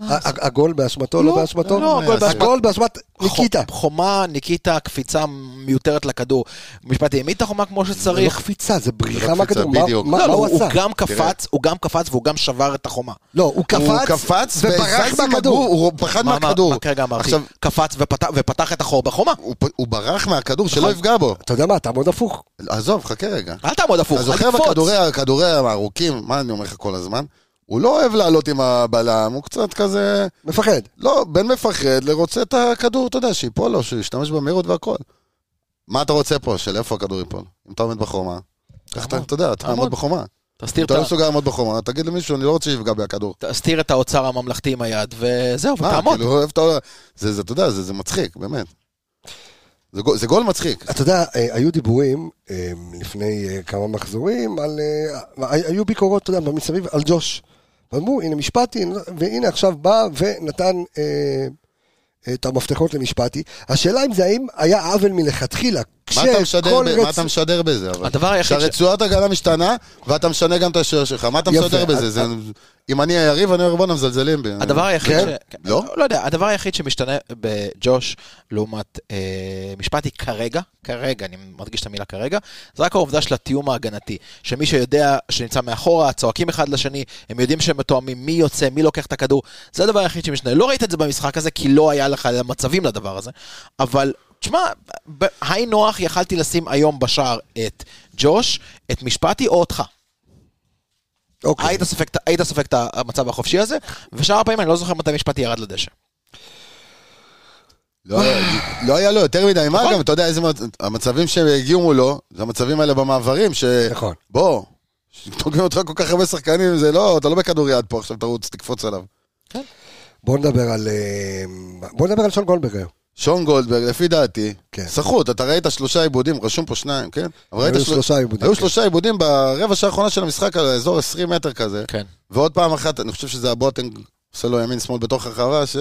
ה- הגול באשמתו, לא באשמתו?
לא, הגול באשמת-
הגול באשמת ניקיטה.
חו- חומה, ניקיטה, קפיצה מיותרת לכדור. משפט העמיד את החומה כמו
זה לא
שצריך.
קפיצה, זה בריחה
לא
מהכדור.
קפיצה,
מה-
בדיוק.
מה
לא,
מה
לא,
הוא
הוא
עשה?
גם קפץ, הוא גם קפץ והוא גם שבר את החומה.
לא, הוא
הוא
קפץ,
קפץ
וברח
וזז עם
מהכדור.
הגוף, הוא פחד
מה- מה-
מהכדור.
מה כרגע אמרתי?
עכשיו,
קפץ ופתח- ופתח את החור בחומה.
הוא פ- הוא ברח מהכדור,
נכון.
שלא יפגע בו.
אתה יודע מה, תעמוד הפוך.
עזוב, חכה רגע.
אל תעמוד הפוך,
אתה
אל
זוכר
תקפוץ.
בכדורי הכדורי הארוכים, מה אני אומר לך כל הזמן? הוא לא אוהב לעלות עם הבלם, הוא קצת כזה...
מפחד.
לא, בן מפחד, רוצה את הכדור, אתה יודע, שיפול לו, שהוא ישתמש במהירות והכל. מה אתה רוצה פה? של איפה הכדור ייפול? אם אתה עומד בחומה, קח את ה- אתה יודע, אתה
תעמוד.
עמוד בחומה. אם
תסתיר
אתה
את
לא
ה-
מסוגל לעמוד בחומה, תגיד למישהו, אני לא רוצה שיפגע בי הכדור.
תסתיר את האוצר הממלכתי עם היד, וזהו,
מה,
ותעמוד.
כאילו, איפה אתה... זה, זה, אתה יודע, זה זה מצחיק, באמת. זה גול- זה גול מצחיק.
אתה יודע, אה, היו דיבורים אה, לפני אה, כמה מחזורים על... אה, הי- היו ביקורות, אתה יודע, מסביב על ג'וש. אמרו, הנה משפטי, והנה עכשיו בא ונתן אה, את המפתחות למשפטי. השאלה אם זה האם היה עוול מלכתחילה.
מה אתה
כשכל
משדר ב-
רצ-
מה אתה משדר בזה? אבל?
הדבר היחיד ש-
שהרצועת הגנה משתנה, ואתה משנה גם את השוער שלך. מה אתה
יפה,
משדר בזה?
אז-
זה- אם אני היריב, אני אומר, בואנה, מזלזלים בי.
הדבר היחיד
כן?
ש...
לא?
לא יודע, הדבר היחיד שמשתנה בג'וש לעומת אה, משפטי כרגע, כרגע, אני מדגיש את המילה כרגע, זה רק העובדה של התיאום ההגנתי. שמי שיודע שנמצא מאחורה, צועקים אחד לשני, הם יודעים שהם מתואמים מי יוצא, מי לוקח את הכדור, זה הדבר היחיד שמשתנה. לא ראית את זה במשחק הזה, כי לא היה לך מצבים לדבר הזה, אבל... תשמע, ב- היי נוח יכלתי לשים היום בשער את ג'וש, את משפטי או אותך.
אוקיי.
היית סופג את- היית סופג את המצב החופשי הזה, ושאר הפעמים אני לא זוכר מתי משפטי ירד לדשא.
לא, לא היה לו יותר מדי מה
נכון.
גם, אתה יודע איזה מצ- המצבים שהגיעו מולו, זה המצבים האלה במעברים, ש...
נכון.
בוא, תוקעים אותך כל כך הרבה שחקנים, זה לא, אתה לא בכדור יד פה, עכשיו תרוץ, תקפוץ עליו.
בוא נדבר על... אה, בוא נדבר על שון גולדברג היום.
שון גולדברג, לפי דעתי,
כן.
סחוט, אתה ראית שלושה עיבודים, רשום פה שניים, כן? אבל ראית
היו
של-
שלושה עיבודים,
היו
כן.
שלושה עיבודים ברבע שעה האחרונה של המשחק, על אזור 20 מטר כזה.
כן.
ועוד פעם אחת, אני חושב שזה הבוטנג, עושה לו ימין-שמאל בתוך הרחבה, ש...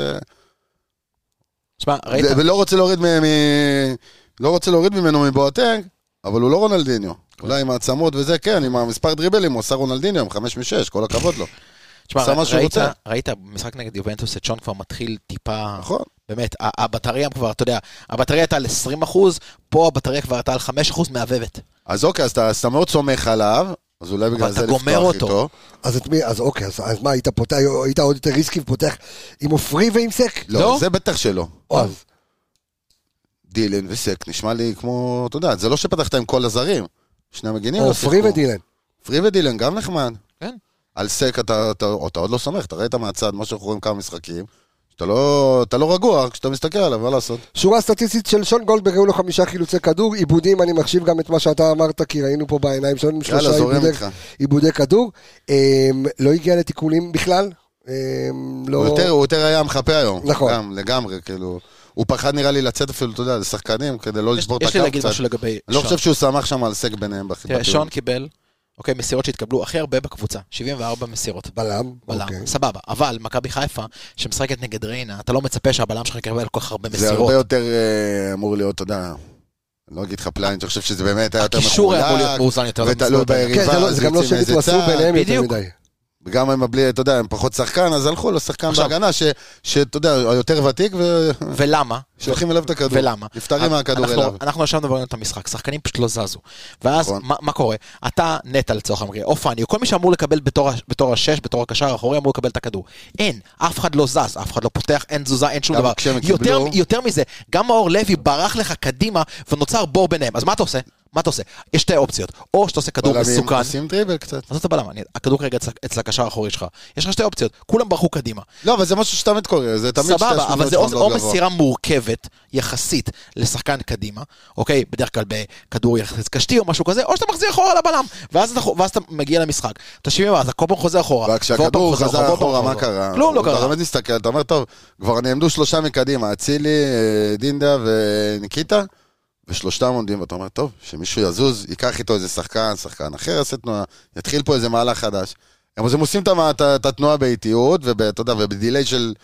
תשמע, ראית?
ו- ולא רוצה להוריד, מ- מ- לא רוצה להוריד ממנו מבואטנג, אבל הוא לא כן, רונלדיניו. אולי עם העצמות וזה, כן, עם המספר דריבלים, הוא עשה רונלדיניו עם חמש משש, כל הכבוד לו.
תשמע,
עשה מה שהוא
ראית-
רוצה.
ראית במשחק נגד יובנטוס את שון כבר מתחיל טיפה...
נכון.
באמת, ה- הבטריה כבר, אתה יודע, הבטריה הייתה על 20 אחוז, פה הבטריה כבר הייתה על 5 אחוז מהבהבת.
אז אוקיי, אז אתה אז אתה מאוד סומך עליו, אז אולי בגלל
אתה
זה
גומר
לפתוח
אותו.
איתו.
אז את מי, אז אוקיי, אז, אז מה, היית פותח, היית עוד יותר ריסקי ופותח עם עופרי ועם סק?
לא,
לא?
זה בטח שלא.
או, אז,
דילן וסק נשמע לי כמו, אתה יודע, זה לא שפתחת עם כל הזרים. שני המגינים
או
לא
עופרי
שיחקו.
ודילן.
עופרי ודילן, גם נחמד.
כן.
על סק אתה, אתה, אתה עוד לא סומך, אתה ראית מהצד מה שאנחנו רואים כמה משחקים. שאתה לא, אתה לא רגוע כשאתה מסתכל עליו, מה לעשות?
שורה סטטיסטית של שון גולדברג היו לו חמישה חילוצי כדור, עיבודים, אני מחשיב גם את מה שאתה אמרת, כי ראינו פה בעיניים שלנו עם שלושה
יאללה, זורם
עיבודי,
איתך.
עיבודי כדור. אמ, לא הגיע לתיקולים בכלל. אמ, לא...
הוא יותר, הוא יותר היה מחפה היום.
נכון.
גם, לגמרי, כאילו. הוא פחד נראה לי לצאת אפילו, אתה יודע, לשחקנים, כדי לא
יש
לשבור את
יש לי
הקו
להגיד
קצת.
משהו לגבי
אני לא
שון.
חושב שהוא שמח שם על סק ביניהם. בח-
תראה,
בטיעון.
שון קיבל, אוקיי, מסירות שהתקבלו הכי הרבה בקבוצה, 74 מסירות.
בלם.
בלם,
אוקיי.
סבבה, אבל מכבי חיפה, שמשחקת נגד ריינה, אתה לא מצפה שהבלם שלך יקבל כל כך הרבה
זה הרבה
מסירות.
יותר אה, אמור להיות, אתה יודע, אני לא אגיד לך פליינט, אני חושב שזה באמת היה יותר
הקישור היה אמור להיות מאוזן יותר.
ותלוי
למסירות האלה.
ביריבה,
כן, זה לא-
אז
זה גם לא
יוצאים מאיזה
שהתווספו
צד.
ביניהם יותר
בדיוק.
מדי.
וגם הם בלי, אתה יודע, הם פחות שחקן, אז הלכו לשחקן
עכשיו-
בהגנה, ש- שאתה יודע, היותר ותיק,
ולמה?
ושולחים אליו את הכדור.
ולמה? אה,
נפטרים מהכדור
אנחנו-
אליו.
אנחנו ישבנו וראינו את המשחק, שחקנים פשוט לא זזו. ואז
נכון.
מה- מה קורה? אתה נטע לצורך המקרה, או פאני, או כל מי שאמור לקבל בתור ה- בתור השש, בתור הקשר האחורי, אמור לקבל את הכדור. אין, אף אחד לא זז, אף אחד לא פותח, אין תזוזה, אין שום
גם
דבר.
כשהם
יותר-
קיבלו-
יותר מזה, גם מאור לוי ברח לך קדימה, ונוצר בור ביניהם. אז מה אתה עושה? מה אתה עושה? יש שתי אופציות, או שאתה עושה כדור
בלמים
מסוכן,
עושים דריבל קצת.
עזוב את הבלם, אני- הכדור כרגע אצל- אצל הקשר האחורי שלך. יש לך שתי אופציות, כולם ברחו קדימה.
לא, אבל זה משהו שתמיד קורה, זה תמיד שתי
סבבה, אבל
השמיניות
זה
שלך
או, או
מאוד גבוה.
מסירה מורכבת יחסית לשחקן קדימה, אוקיי? בדרך כלל בכדור יחסית קשתי או משהו כזה, או שאתה מחזיר אחורה לבלם, ואז אתה, ואז אתה מגיע למשחק. אתה 70 אז אתה כל פעם חוזר אחורה.
אבל
ועוד פעם
כשהכדור
חוזר
חזר
ועוד פעם
אחורה, מה
חוזר.
קרה?
כלום לא
אתה
קרה.
באמת מסתכל, אתה אומר, טוב, כבר נעמדו שלושה מקדימה, אצילי, אה, דינדה וניקיטה, ושלושתם עומדים, ואתה אומר, טוב, שמישהו יזוז, ייקח איתו איזה שחקן, שחקן אחר יעשה תנועה, יתחיל פה איזה מהלך חדש. אז הם עושים את המ- את ה- את התנועה באיטיות, ואתה יודע, ובדיליי של...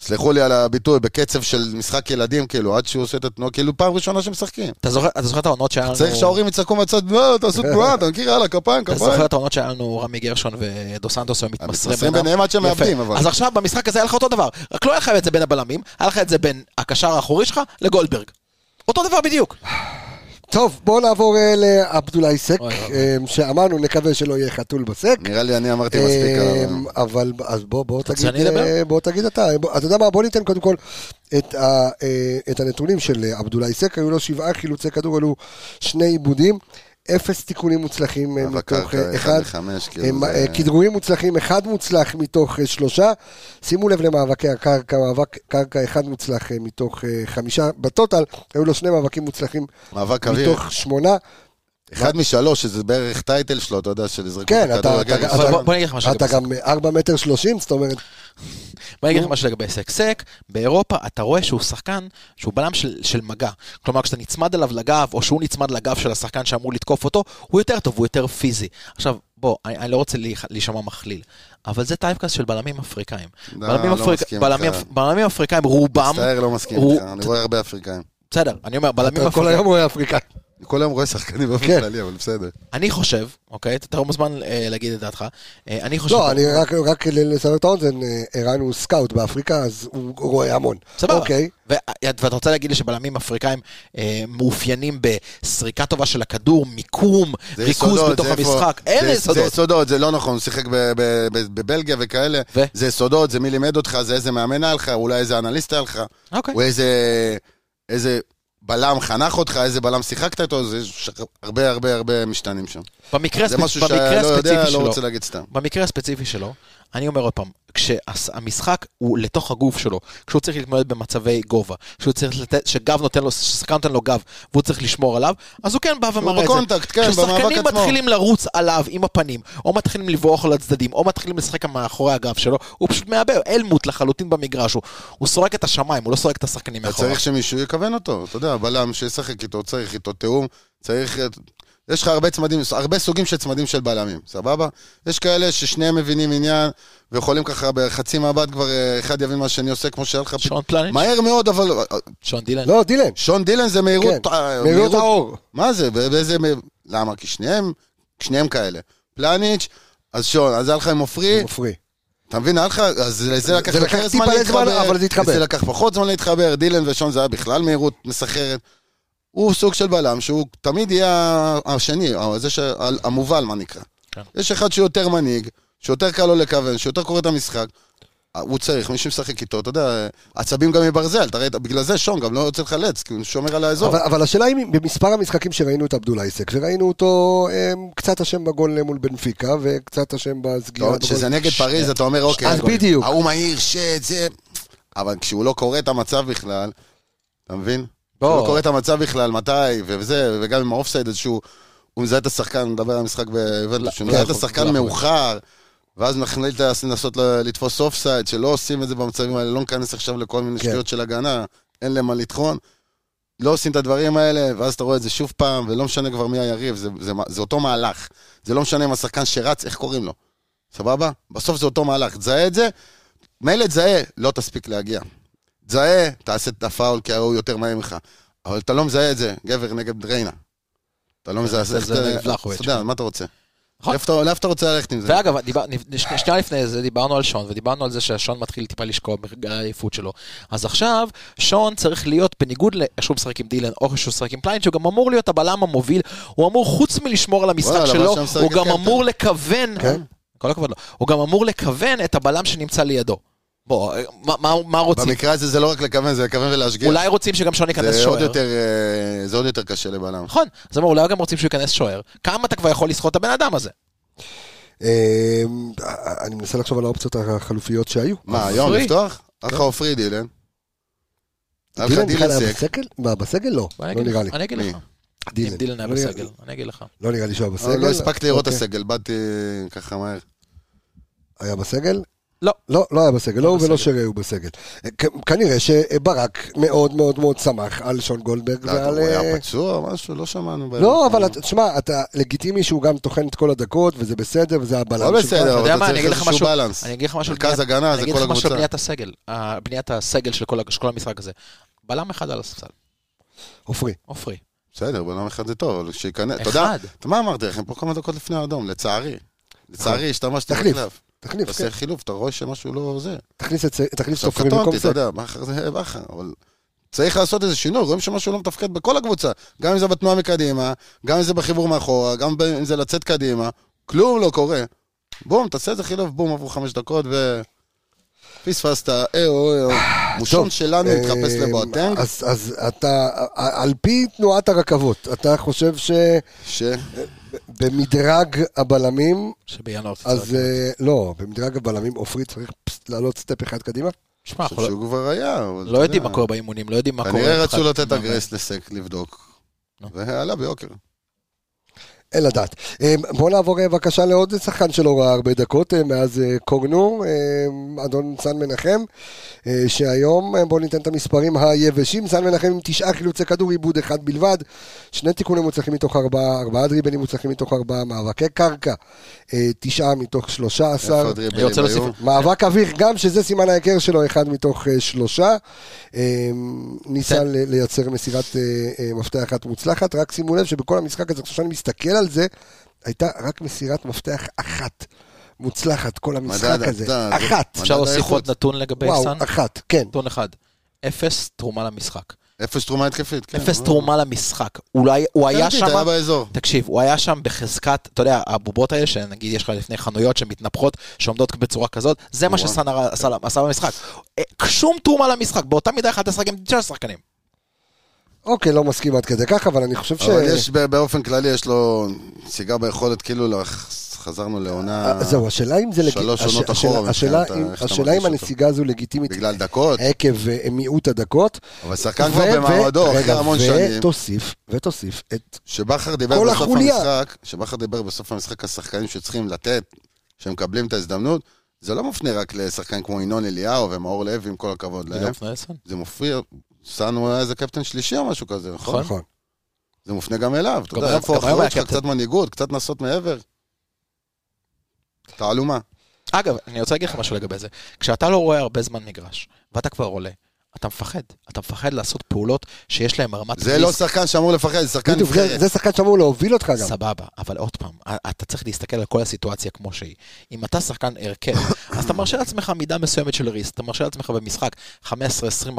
סלחו לי על הביטוי, בקצב של משחק ילדים, כאילו, עד שהוא עושה את התנועה, כאילו פעם ראשונה שמשחקים.
אתה זוכר, אתה זוכר את העונות שהיה לנו...
צריך שההורים יצעקו מהצד, לא, תעשו תנועה, אתה מכיר, יאללה, כפיים,
אתה זוכר
כפיים.
את העונות שהיה לנו רמי גרשון ודו סנטוס היו מתמסרים
מתמסרים ביניהם עד שהם
יפה.
מאבדים, אבל.
אז עכשיו במשחק הזה היה לך אותו דבר, רק לא היה לך את זה בין הבלמים, היה לך את זה בין הקשר האחורי שלך לגולדברג. אותו דבר בדיוק.
טוב, בואו נעבור אה, לעבדולאי סק,
אוי, אוי.
אה, שאמרנו, נקווה שלא יהיה חתול בסק.
נראה לי אני אמרתי מספיק אה, עליו.
אמ, אבל אז בוא, בוא
רוצה
תגיד,
שאני אדבר?
אה, בוא תגיד אתה, בוא- אתה יודע מה, בוא ניתן קודם כל את, ה, אה, את הנתונים של אה, עבדולאי סק, היו לו שבעה חילוצי כדור, היו לו שני עיבודים, אפס תיקונים מוצלחים אה,
אבל
מתוך
קרקע,
אה,
כן, אחד
אחד,
לחמש, כאילו,
הם,
זה-
אה, כדרורים מוצלחים, אחד מוצלח מתוך אה, שלושה, שימו לב למאבקי הקרקע, מאבק קרקע אחד מוצלח אה, מתוך אה, חמישה, בטוטל היו לו שני מאבקים מוצלחים
מאבק אוויר.
מתוך שמונה,
אחד משלוש, שזה בערך טייטל שלו, אתה יודע, של יזרקו
כן,
את
אתה- אתה-
הכדור לגג.
אתה-
אבל בוא- בוא אני אגיד לך משהו.
אתה
לגבי
גם אה, ארבע מטר שלושים, זאת אומרת,
בוא אני אגיד לך משהו לגבי סק. סק, באירופה אתה רואה שהוא שחקן שהוא בלם של, של מגע. כלומר, כשאתה נצמד אליו לגב, או שהוא נצמד לגב של השחקן שאמור לתקוף אותו, הוא יותר טוב, הוא יותר פיזי. עכשיו, בוא, אני, אני לא רוצה להיח- להישמע מכליל, אבל זה טייפקאסט של בלמים אפריקאים.
לא,
בלמים,
לא מסכים
בלמים,
איתך.
בלמים אפריקאים, רובם...
מצטער, לא מסכים
הוא-
איתך, אני רואה הרבה אפריקאים.
בסדר, אני אומר, בלמים
אתה
לא
כל
אפריקאים...
היום רואה אפריקאי.
אני כל היום רואה שחקנים באופן
כן.
כללי, אבל בסדר.
אני חושב, אוקיי? אתה אתה מוזמן אה, להגיד את דעתך. אה, אני חושב...
לא, אני רק, רק כדי לסבר את האוזן, אה, ערן הוא סקאוט באפריקה, אז הוא רואה המון.
סבבה.
אוקיי.
ו- ואתה רוצה להגיד לי שבלמים אפריקאים אה, מאופיינים בסריקה טובה של הכדור, מיקום,
זה
ריכוז
יסודות,
בתוך
זה איפה-
המשחק? אין
זה- זה
יסודות.
יסודות, זה לא נכון, הוא שיחק ב- ב- ב- בבלגיה וכאלה.
ו?
זה יסודות, זה מי לימד אותך, זה איזה מאמן היה לך, אולי איזה אנליסט היה לך,
אוקיי.
או איזה- איזה בלם חנך אותך, איזה בלם שיחקת איתו, זה יש הרבה הרבה הרבה משתנים שם.
במקרה
זה
הספ-
משהו
במקרה
שאני לא יודע,
הספציפי
לא
שלו,
רוצה להגיד סתם.
במקרה הספציפי שלו, אני אומר עוד פעם, כשהמשחק הוא לתוך הגוף שלו, כשהוא צריך להתמודד במצבי גובה, כשהוא צריך לתת, שגב נותן לו, ששחקן נותן לו גב, והוא צריך לשמור עליו, אז הוא כן בא
הוא
ומראה את זה.
בקונטקט, כן, במאבק
כששחקנים
עצמו.
מתחילים לרוץ עליו עם הפנים, או מתחילים לברוח לו לצדדים, או מתחילים לשחק מאחורי הגב שלו, הוא פשוט מאבד, אלמוט לחלוטין במגרש, הוא, הוא סורק את השמיים, הוא לא סורק את השחקנים
אתה
נכון.
מאחורי.
צריך שמישהו יכוון אותו, אתה יודע, בלם שישחק איתו, צריך איתו תיאום, צריך... יש לך הרבה צמדים, הרבה סוגים של צמדים של בלמים, סבבה? יש כאלה ששניהם מבינים עניין, ויכולים ככה בחצי מבט כבר אה, אחד יבין מה שאני עושה, כמו שהיה לך...
שון פלניץ'?
מהר מאוד, אבל... אה,
שון דילן.
לא, דילן.
שון דילן זה מהירות...
כן,
אה,
מהירות האור.
מה זה? בא- באיזה... מה- למה? כי שניהם, שניהם כאלה. פלניץ', אז שון, אז היה לך עם עופרי,
עופרי.
אתה מבין, היה לך, אז לזה לקח
זה לקח
יותר זמן
טיפה
להתחבר,
זמן, אבל זה התחבר.
לזה לקח פחות זמן להתחבר, דילן ושון זה היה בכלל מהירות מסחררת. הוא סוג של בלם שהוא תמיד יהיה השני, זה ש... המובל, מה נקרא.
כן.
יש אחד שהוא יותר מנהיג, שיותר קל לו לכוון, שיותר קורא את המשחק. הוא צריך, מי שמשחק איתו, אתה יודע, עצבים גם מברזל, אתה רואה, בגלל זה שון גם לא יוצא לחלץ, כי הוא שומר על האזור.
אבל, אבל השאלה היא, במספר המשחקים שראינו את עבדול אייסק, וראינו אותו אמ, קצת אשם בגול מול בנפיקה, וקצת אשם בסגירה.
כאילו,
לא, שזה נגד פריז, אתה אומר, אוקיי.
אז
הגול.
בדיוק.
ההוא מהיר, שט, זה... אבל כשהוא לא קורא את המצב בכלל, אתה מבין?
בוא.
כשהוא לא קורא את המצב בכלל, מתי, וזה, וגם עם האופסייד, אז שהוא... הוא מזהה את השחקן, נדבר על המשחק בעברית, שהוא
לא
מזהה את
יכול,
השחקן
לא יכול.
מאוחר, ואז נחליט לנסות ל- לתפוס אופסייד, שלא עושים את זה במצבים האלה, לא ניכנס עכשיו לכל מיני
כן.
שטויות של הגנה, אין להם מה לטחון. לא עושים את הדברים האלה, ואז אתה רואה את זה שוב פעם, ולא משנה כבר מי היריב, זה, זה, זה אותו מהלך. זה לא משנה אם השחקן שרץ, איך קוראים לו. סבבה? בסוף זה אותו מהלך. תזהה את זה, מילא תזהה, לא תספיק להגיע. תזהה, תעשה את הפאול, כי ההוא יותר מהר ממך. אבל אתה לא מזהה את זה, גבר נגד ריינה. אתה לא מזהה,
זה-
איך
זה
אתה-
נגד לחוביץ'.
אתה יודע, מה אתה רוצה?
נכון.
לאיפה אתה- לאיפה אתה רוצה ללכת עם זה?
ואגב, דיבר- נ- שני- שנייה לפני זה דיברנו על שון, ודיברנו על זה שהשון מתחיל טיפה לשקוע ברגע העייפות שלו. אז עכשיו, שון צריך להיות, בניגוד לאיך שהוא משחק עם דילן, או שהוא משחק עם פליין, שהוא גם אמור להיות הבלם המוביל, הוא אמור, חוץ מלשמור על המשחק
וואלה,
שלו,
אבל שם משחק
הוא גם
הקפטן.
אמור לכוון,
כן.
כל הכבוד לו, הוא גם אמור לכוון את הבלם שנמצא לידו. בוא, מה- מה- מה רוצים?
במקרה הזה זה לא רק לכוון, זה לכוון ולהשגיח.
אולי רוצים שגם שון ייכנס
זה עוד
שוער.
יותר, אה, זה עוד יותר קשה לבלם.
נכון, אז אמרו, אולי גם רוצים שהוא ייכנס שוער. כמה אתה כבר יכול לסחוט את הבן אדם הזה?
אמ, אני מנסה לחשוב על האופציות החלופיות שהיו.
מה, היום
עופרי?
לפתוח?
כן.
היה לך עופרי דילן. היה לך
דילן בכלל
דילן
היה
סק.
בסגל? מה, בסגל לא.
בוא, אני
לא
אגיד
נראה
לך,
לי.
אני אגיד
מי?
לך. אם
דילן.
דילן היה
לא נראה-
בסגל, אני אגיד לך.
לא נראה לי שהוא היה בסגל.
לא הספקתי לראות את
אוקיי.
הסגל, באתי ככה מהר.
היה בסגל?
לא.
לא, לא היה בסגל, לא הוא
בסגל.
ולא שרי היו בסגל. כ- כנראה שברק מאוד מאוד מאוד שמח על שון גולדברג
לא, אתה-
ועל...
הוא היה
אה,
פצוע, משהו, לא שמענו. בערב.
לא, אבל אתה- תשמע, אתה לגיטימי שהוא גם טוחן את כל הדקות, וזה בסדר, וזה הבלם
לא בסדר,
אתה יודע
אבל
מה,
אתה
אני אגיד
צריך
לך
איזשהו
משהו-
בלנס.
אני אגיד לך משהו על
מרכז
בניית-
הגנה,
אני
זה
אגיד
כל
לך משהו על
הקבוצה.
בניית הסגל, אה, בניית הסגל של כל ה- של כל המשחק הזה. בלם אחד על הספסל,
עופרי.
עופרי.
בסדר, בלם אחד זה טוב, אבל שייכנס. אתה יודע,
אחד.
אתה מה אמרתי לכם? פה כמה דקות לפני האדום, לצערי. לצערי, השתמשתי
תחליף.
בחלף.
תחליף, כן.
עושה חילוף, אתה רואה שמשהו לא זה.
תכניס את זה- תכניס את
עכשיו
עופרי במקום
קטונתי, אתה
זה.
יודע, בכר זה בכר, אבל צריך לעשות איזה שינוי, רואים שמשהו לא מתפקד בכל הקבוצה, גם אם זה בתנועה מקדימה, גם אם זה בחיבור מאחורה, גם ב- אם זה לצאת קדימה, כלום לא קורה. בום, תעשה איזה חילוף, בום, עברו חמש דקות ו... פספסת, אה, אהו, אהו. מושון
טוב,
שלנו
אה,
מתחפש לבועטנג,
אז אז אתה, על פי תנועת הרכבות, אתה חושב
ש...
שבמדרג הבלמים,
שבינואר תצטרך.
אז אה, לא, במדרג הבלמים עופרי צריך פס- לעלות סטפ אחד קדימה?
שמע,
אני
אנחנו
חושב
לא-
שהוא כבר היה. אבל אתה
לא יודעים
יודע.
מה קורה באימונים, לא יודעים מה קורה.
כנראה
במשחק.
רצו לתת אגרס לסק לבדוק.
נו.
ועלה ביוקר.
אין לדעת. אה, בואו נעבור אה, בבקשה לעוד שחקן שלא ראה הרבה דקות אה, מאז אה, קורנור, אה, אדון סן מנחם, אה, שהיום, אה, בואו ניתן את המספרים היבשים, סן מנחם עם תשעה חילוצי כדור, עיבוד אחד בלבד, שני תיקונים מוצלחים מתוך ארבעה, ארבעה דריבלים מוצלחים מתוך ארבעה, מאבקי קרקע, אה, תשעה מתוך שלושה
איפה
עשר.
אני
הדריבלים
רוצה להוסיף-
היו?
מאבק אוויר, גם שזה סימן ההיכר שלו, אחד מתוך אה, שלושה. אה, ניסה
כן.
ל- לייצר מסירת אה, אה, מפתח אחת מוצלחת, רק שימו לב שבכל המשחק הזה, כשאני מסתכל על זה, הייתה רק מסירת מפתח אחת מוצלחת, כל המשחק
מדד,
הזה.
מדד.
אחת.
אפשר
מדד
להוסיף
האיכות.
עוד נתון לגבי
וואו,
סאן?
אחת, כן.
נתון אחד. אפס תרומה למשחק.
אפס תרומה התקפית, כן.
אפס
אבל-
תרומה למשחק. אולי, הוא היה
קלטית, היה
שם...
באזור.
תקשיב, הוא היה שם בחזקת, אתה יודע, הבובות האלה, שנגיד יש לך לפני חנויות שמתנפחות, שעומדות בצורה כזאת, זה מה
וואו.
שסאן הר- עשה עשה במשחק. אה, שום תרומה למשחק, באותה מידה יכולת לשחק עם 19 שחקנים.
אוקיי, לא מסכים עד כדי כך, אבל אני חושב ש...
אבל יש, ב- באופן כללי יש לו נסיגה ביכולת, כאילו לא- חזרנו לעונה
אה, זהו, השאלה אם זה... לג-
שלוש
הש-
עונות
השאלה-
אחורה
השאלה
מבחינת
אם-
ה- איך אתה
השאלה אם
מרגיש אותו.
הנסיגה הזו לגיטימית
בגלל דקות,
עקב אה, מיעוט הדקות.
אבל שחקן
ו-
כבר
ו-
במעמדו אחרי
רגע,
המון שנים.
ותוסיף, ותוסיף את...
שבכר דיבר
כל
בסוף
החוליה.
המשחק, שבכר דיבר בסוף המשחק, השחקנים שצריכים לתת, שמקבלים את ההזדמנות, זה לא מופנה רק לשחקן כמו ינון אליהו ומאור לוי, עם כל הכבוד להם. זה מופיע, סאן הוא היה איזה קפטן שלישי או משהו כזה,
כן.
נכון?
נכון.
זה מופנה גם אליו. אתה
גם
יודע,
היום-
איפה
גם היום היה
האחריות שלך?
קפטן.
קצת מנהיגות, קצת נסות מעבר. תעלומה.
אגב, אני רוצה להגיד לך משהו לגבי זה. כשאתה לא רואה הרבה זמן מגרש, ואתה כבר עולה, אתה מפחד. אתה מפחד לעשות פעולות שיש להן רמת
זה
ריסק.
לא שחקן שאמור לפחד, כן, זה שחקן
בדיוק, זה-
נבחרת.
זה שחקן שאמור להוביל אותך גם.
סבבה, אבל עוד פעם, אתה צריך להסתכל על כל הסיטואציה כמו שהיא. אם אתה שחקן הרכב, אז אתה מרשה לעצמך מידה מסוימת של ריסק, אתה מרשה לעצמך במשחק 15-20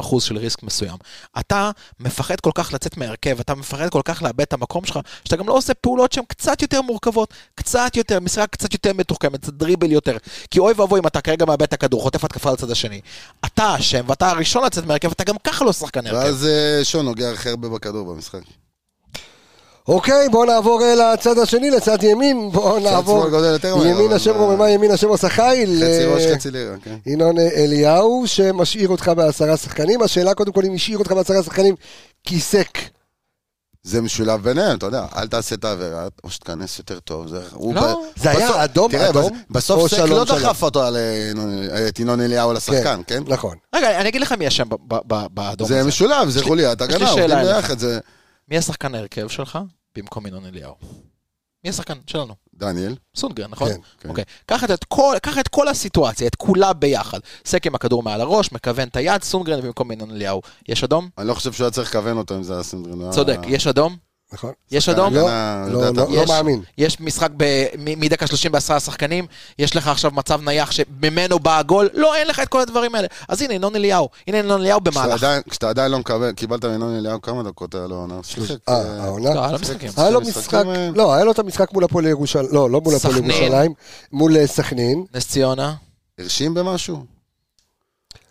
אחוז של ריסק מסוים. אתה מפחד כל כך לצאת מהרכב, אתה מפחד כל כך לאבד את המקום שלך, שאתה גם לא עושה פעולות שהן קצת יותר מורכבות, קצת יותר, משחק קצת יותר מתוחכם, קצת דריבל יותר. כי אוי ואבוי אם אתה כרגע מאבד את הכדור, חוטף התקפה לצד השני. אתה אשם, ואתה הראשון לצאת מהרכב, אתה גם ככה לא שחקן הרכב.
ואז אה, שון נוגע הכי הרבה בכדור במשחק.
אוקיי, בואו נעבור אה, לצד השני, לצד ימין. בואו נעבור.
שמאל גודל יותר מהר,
ימין
אבל
השם
מה-
רוממה, ימין השם עושה חיל.
חצי
אה,
ראש, חצי לירה, כן.
ינון אה, אליהו, שמשאיר אותך בעשרה שחקנים. השאלה קודם כל אם השאיר אותך בעשרה שחקנים, כי סק.
זה משולב ביניהם, אתה יודע, אל תעשה את העבירה, או שתיכנס יותר טוב. זה, הוא
לא,
זה היה אדום,
תראה,
אדום,
בס- בסוף
או
סק
שלום
לא
שלום.
דחף אותו על אה, נו, את ינון אליהו לשחקן, כן?
נכון.
רגע, אני אגיד לך מי אשם ב- ב- ב-
לא
באדום הזה.
זה משולב, זה
יש לי-
חוליית
יש לי
הגנה, עובדים
שאלה אליך.
ביחד, זה
מי השחקן ההרכב שלך במקום ינון אליהו? מי השחקן שלנו?
דניאל.
סונגרן, נכון?
כן,
כן.
אוקיי. קח את, את, כל, קח את כל הסיטואציה, את כולה ביחד. סק עם הכדור מעל הראש, מכוון את היד, סונגרן במקום ינון אליהו. יש אדום?
אני לא חושב שהוא היה צריך לכוון אותו אם זה היה אה, סינדרין.
צודק, יש אדום?
נכון.
יש אדום?
לא,
אה,
לא,
לדעת,
לא, לא
יש-
מאמין.
יש משחק ב- מ- מדקה 30 בעשרה שחקנים, יש לך עכשיו מצב נייח שממנו בא הגול, לא, אין לך את כל הדברים האלה. אז הנה, ינון אליהו. הנה ינון אליהו
לא
במהלך.
כשאתה עדיין לא מקבל, קיבלת מינון אליהו כמה דקות היה לו עונה. שיחק,
אה,
אה,
העונה?
לא, היה לו משחקים.
היה לו
שני משחקים,
משחק,
אה,
לא, היה לו את המשחק מול הפועל ירושלים, לא, לא מול הפועל
סכנין.
ירושלים, מול אה, סכנין.
נס ציונה,
הרשים במשהו?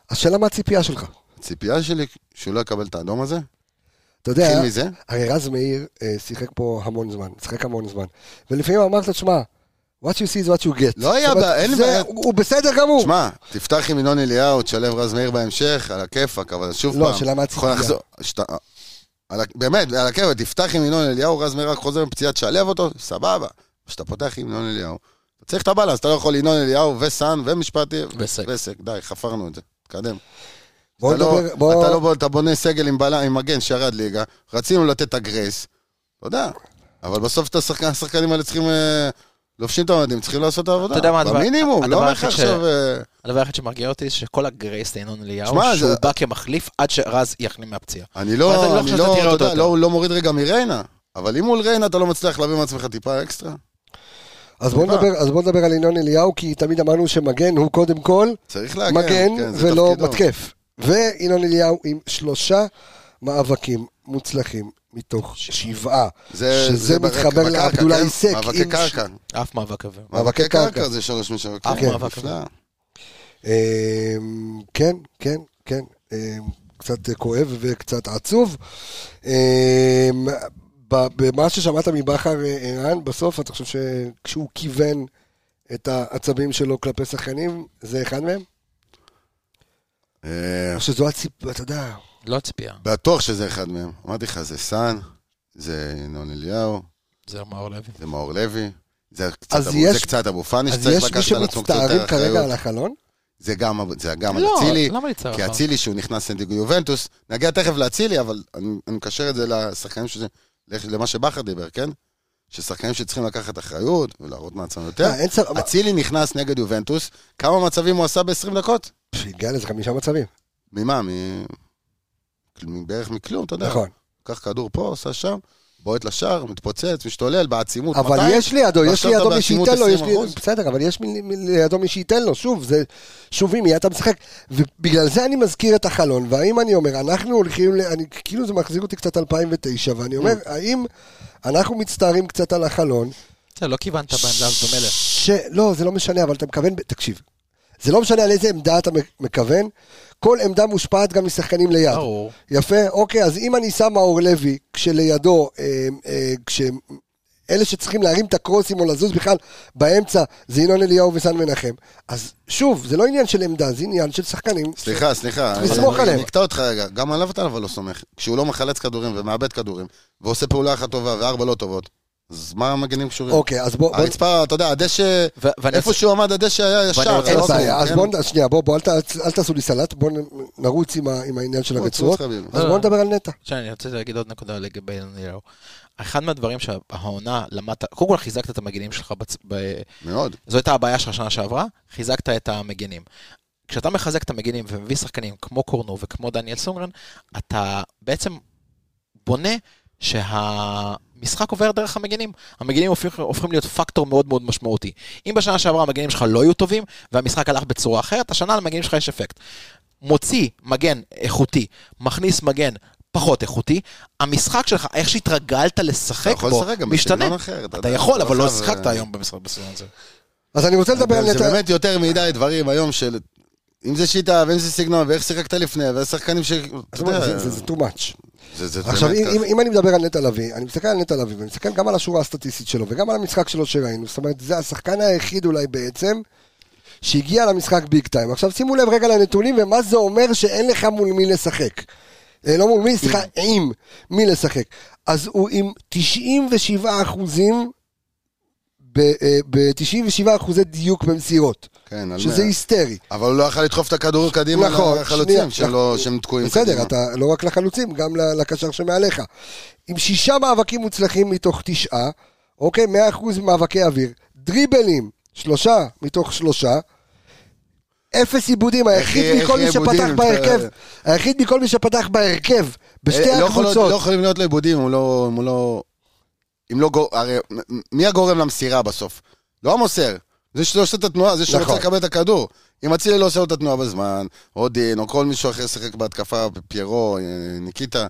השאלה מה הציפייה שלך?
הציפייה שלי שהוא לא יקבל את האדום הזה?
אתה יודע, אה,
התחיל מזה?
הרי רז מאיר אה, שיחק פה המון זמן, שיחק המון זמן. ולפעמים אמרת, שמע, what you see is what you get.
לא היה
זאת אומרת,
בעיה, אין לי
זה-
בעיה.
הוא הוא בסדר גמור.
שמע, תפתח עם ינון אליהו, תשלב רז מאיר בהמשך, על הכיפאק, אבל שוב
לא,
פעם.
השאלה מה הציפייה.
יכול לחזור- שת- על ה- באמת, על הכיפאק, תפתח עם ינון אליהו, רז מאיר רק חוזר מפציעה, תשלב אותו, סבבה. כשאתה פותח עם ינון אליהו, אתה צריך את הבאלנס, אתה לא יכול ינון אליהו וסאן ומשפטי
וסק.
וסק, די, חפרנו את זה, תקדם.
בוא
אתה לא-
נדבר, בוא...
אתה לא בוא- אתה בונה סגל עם בלם, עם מגן שירד ליגה, רצינו לתת את הגרייס, אתה יודע, אבל בסוף את השחקן- השחקנים האלה צריכים... אה, לובשים את המדים, צריכים לעשות את העבודה.
אתה יודע מה הדבר-
במינימום,
הדבר
לא אומר לך
היחיד ש-
עכשיו... אה,
הדבר היחיד שמרגיע אותי זה שכל הגרייס לינון אליהו,
שמע,
שהוא
זה-
בא כמחליף עד שרז יחלים מהפציעה.
אני
אבל אתה לא
לא,
חושב
אני
שאתה
לא,
תראה
אתה
אותו
יודע,
יותר.
לא, לא מוריד רגע מריינה. אבל אם מול ריינה אתה לא מצליח להביא מעצמך טיפה אקסטרה,
אז בוא
טיפה.
נדבר- אז בוא נדבר על ינון אליהו, כי תמיד אמרנו שמגן הוא קודם כל
צריך להגן.
מגן
כן, זה
ולא
תפקידו.
מתקף. וינון אליהו עם שלושה מאבקים מוצלחים מתוך שבעה. שזה
ברק-
מתחבר
בקרקע,
לעבדולה
כן?
איסק.
מאבקי
עם-
קרקע.
אף מאבק אוויר.
מאבקי
קרקע. אוקיי.
קרקע זה שלוש משווקים.
אף מאבק.
נפלא.
אמ, כן, כן, כן. אמ, קצת כואב וקצת עצוב. אמ, ב- במה ששמעת מבכר אה, ערן, בסוף אתה חושב שכשהוא כיוון את העצבים שלו כלפי שחקנים, זה אחד מהם?
אה,
או שזו הציפ... אתה יודע...
לא ציפייה,
בטוח שזה אחד מהם. אמרתי לך, זה סאן, זה ינון אליהו,
זה מאור לוי.
זה מאור לוי, זה קצת
אז
אבו-
יש-
זה קצת אבו פאני
אז
שצריך
יש מי
לקחת על עצמו קצת
שמצטערים
יותר
כרגע על
אחריות.
החלון?
זה גם אב- זה גם על
לא,
אצילי,
למה לצער?
כי אצילי שהוא נכנס לנדיגו יובנטוס, נגיע תכף לאצילי, אבל אני, אני מקשר את זה לשחקנים שזה, למה שבכר דיבר, כן? ששחקנים שצריכים לקחת אחריות ולהראות מעצמם יותר.
אה, אין צר...
אצילי נכנס נגד יובנטוס, כמה מצבים הוא עשה ב-20 דקות?
פש, הגיע לאיזה חמישה מצבים.
ממה? מ... מ- בערך מכלום, אתה יודע.
נכון.
קח כדור פה, עשה שם, בועט לשער, מתפוצץ, משתולל, בעצימות.
אבל
מתי?
יש לידו, יש
ועכשיו
לידו
אתה
מי
בעצימות
שייתן לו, יש לי-
20%?
בסדר, אבל יש מי- מי- לידו מי שייתן לו, שוב, זה, שוב, עם מי אתה משחק, ובגלל זה אני מזכיר את החלון, והאם אני אומר, אנחנו הולכים, ל- אני, כאילו זה מחזיר אותי קצת 2009, ואני אומר,
Mm.
האם אנחנו מצטערים קצת על החלון,
לא כיוונת בעמדה הזאת במלך.
ש... לא, זה לא משנה, אבל אתה מכוון, ב- תקשיב, זה לא משנה על איזה עמדה אתה מכוון, כל עמדה מושפעת גם משחקנים ליד.
ברור.
יפה, אוקיי, אז אם אני שם מאור לוי, כשלידו, אה, אה, כש... אלה שצריכים להרים את הקרוסים או לזוז בכלל באמצע, זה ינון אליהו וסן מנחם. אז שוב, זה לא עניין של עמדה, זה עניין של שחקנים.
סליחה, סליחה.
צריך לסמוך
אני-
עליהם.
אני אקטע אותך רגע. גם עליו אתה אבל לא סומך. כשהוא לא מחלץ כדורים ומאבד כדורים, ועושה פעולה אחת טובה וארבע לא טובות, אז מה המגנים קשורים?
אוקיי, אז בוא... בוא-
הרצפה, אתה יודע, הדשא,
ו- ואני
איפה
רוצה-
שהוא עמד, הדשא היה
ואני
ישר.
רוצה-
זה
אין
לא
בעיה,
כלום,
אז
כן?
בואו, שנייה, בואו, בוא, אל ת- אל תעשו לי סלט, בואו נרוץ עם ה- עם העניין של
בוא,
הרצועות.
תרוץ, חביבי.
אז
לא,
בואו
לא.
נדבר על נטע.
עכשיו אני רוצה להגיד עוד נקודה לגבי אילן אליהו. אחד מהדברים שהעונה למדת, קודם כל חיזקת את המגינים שלך, בצ- ב-
מאוד.
זו הייתה הבעיה שלך שנה שעברה, חיזקת את המגינים. כשאתה מחזק את המגינים ומביא שחקנים כמו קורנו וכמו דניאל סונגרן, אתה בעצם בונה שהמשחק עובר דרך המגנים. המגנים הופכים, הופכים להיות פקטור מאוד מאוד משמעותי. אם בשנה שעברה המגנים שלך לא היו טובים, והמשחק הלך בצורה אחרת, השנה למגנים שלך יש אפקט. מוציא מגן איכותי, מכניס מגן פחות איכותי, המשחק שלך, איך שהתרגלת לשחק
יכול
בו,
לשחק גם
משתנה.
בסגנון אחר, אתה
אתה
יודע,
יכול,
אתה
אבל
לא
לא
חייב,
שיחקת
אה,
היום במשחק בסגנון הזה.
אז אני רוצה לדבר על...
זה
נתן-
באמת יותר מדי דברים היום של... אם זה שיטה, ואם זה סגנון, ואיך שיחקת לפני, והשחקנים ש... אתה
זאת אומרת,
יודע,
זה- זה- זה too much.
זה- זה
עכשיו,
באמת
אם,
ככה.
אם, אם אני מדבר על נטע לביא, אני מסתכל על נטע לביא, ואני מסתכל גם על השורה הסטטיסטית שלו, וגם על המשחק שלו שראינו, זאת אומרת, זה השחקן היחיד אולי בעצם, שהגיע למשחק ביג טיים. עכשיו, שימו לב רגע לנתונים, ומה זה אומר שאין לך מול מי לשחק. אה, לא מול מי, סליחה, עם מי לשחק. אז הוא עם 97 אחוזים, אה, ב-97 אחוזי דיוק במסירות,
כן, על
שזה
מאה.
היסטרי.
אבל הוא לא יכול לדחוף את הכדור קדימה
נכון, שנייה,
לחלוצים שלו,
נכון.
שהם תקועים קדימה.
בסדר, אתה לא רק לחלוצים, גם ל- לקשר שמעליך. עם שישה מאבקים מוצלחים מתוך תשעה, אוקיי, 100% מאבקי אוויר, דריבלים, שלושה מתוך שלושה, אפס עיבודים, היחיד
איך
מכל מי
יהיה
שפתח
עיבודים?
בהרכב, היחיד מכל מי שפתח בהרכב, בשתי
אה, לא יכול להיות- לא
הקבוצות.
יכולים להיות לו עיבודים, הוא לא... אם הוא לא... אם לא גור... הרי מ- מי הגורם למסירה בסוף? לא המוסר. זה שלא עושה את התנועה, זה שלא
נכון.
רוצה לקבל את הכדור. אם אצילי לא עושה לו את התנועה בזמן, או דין, או כל מישהו אחר שיחק בהתקפה, פיירו, אה, ניקיטה,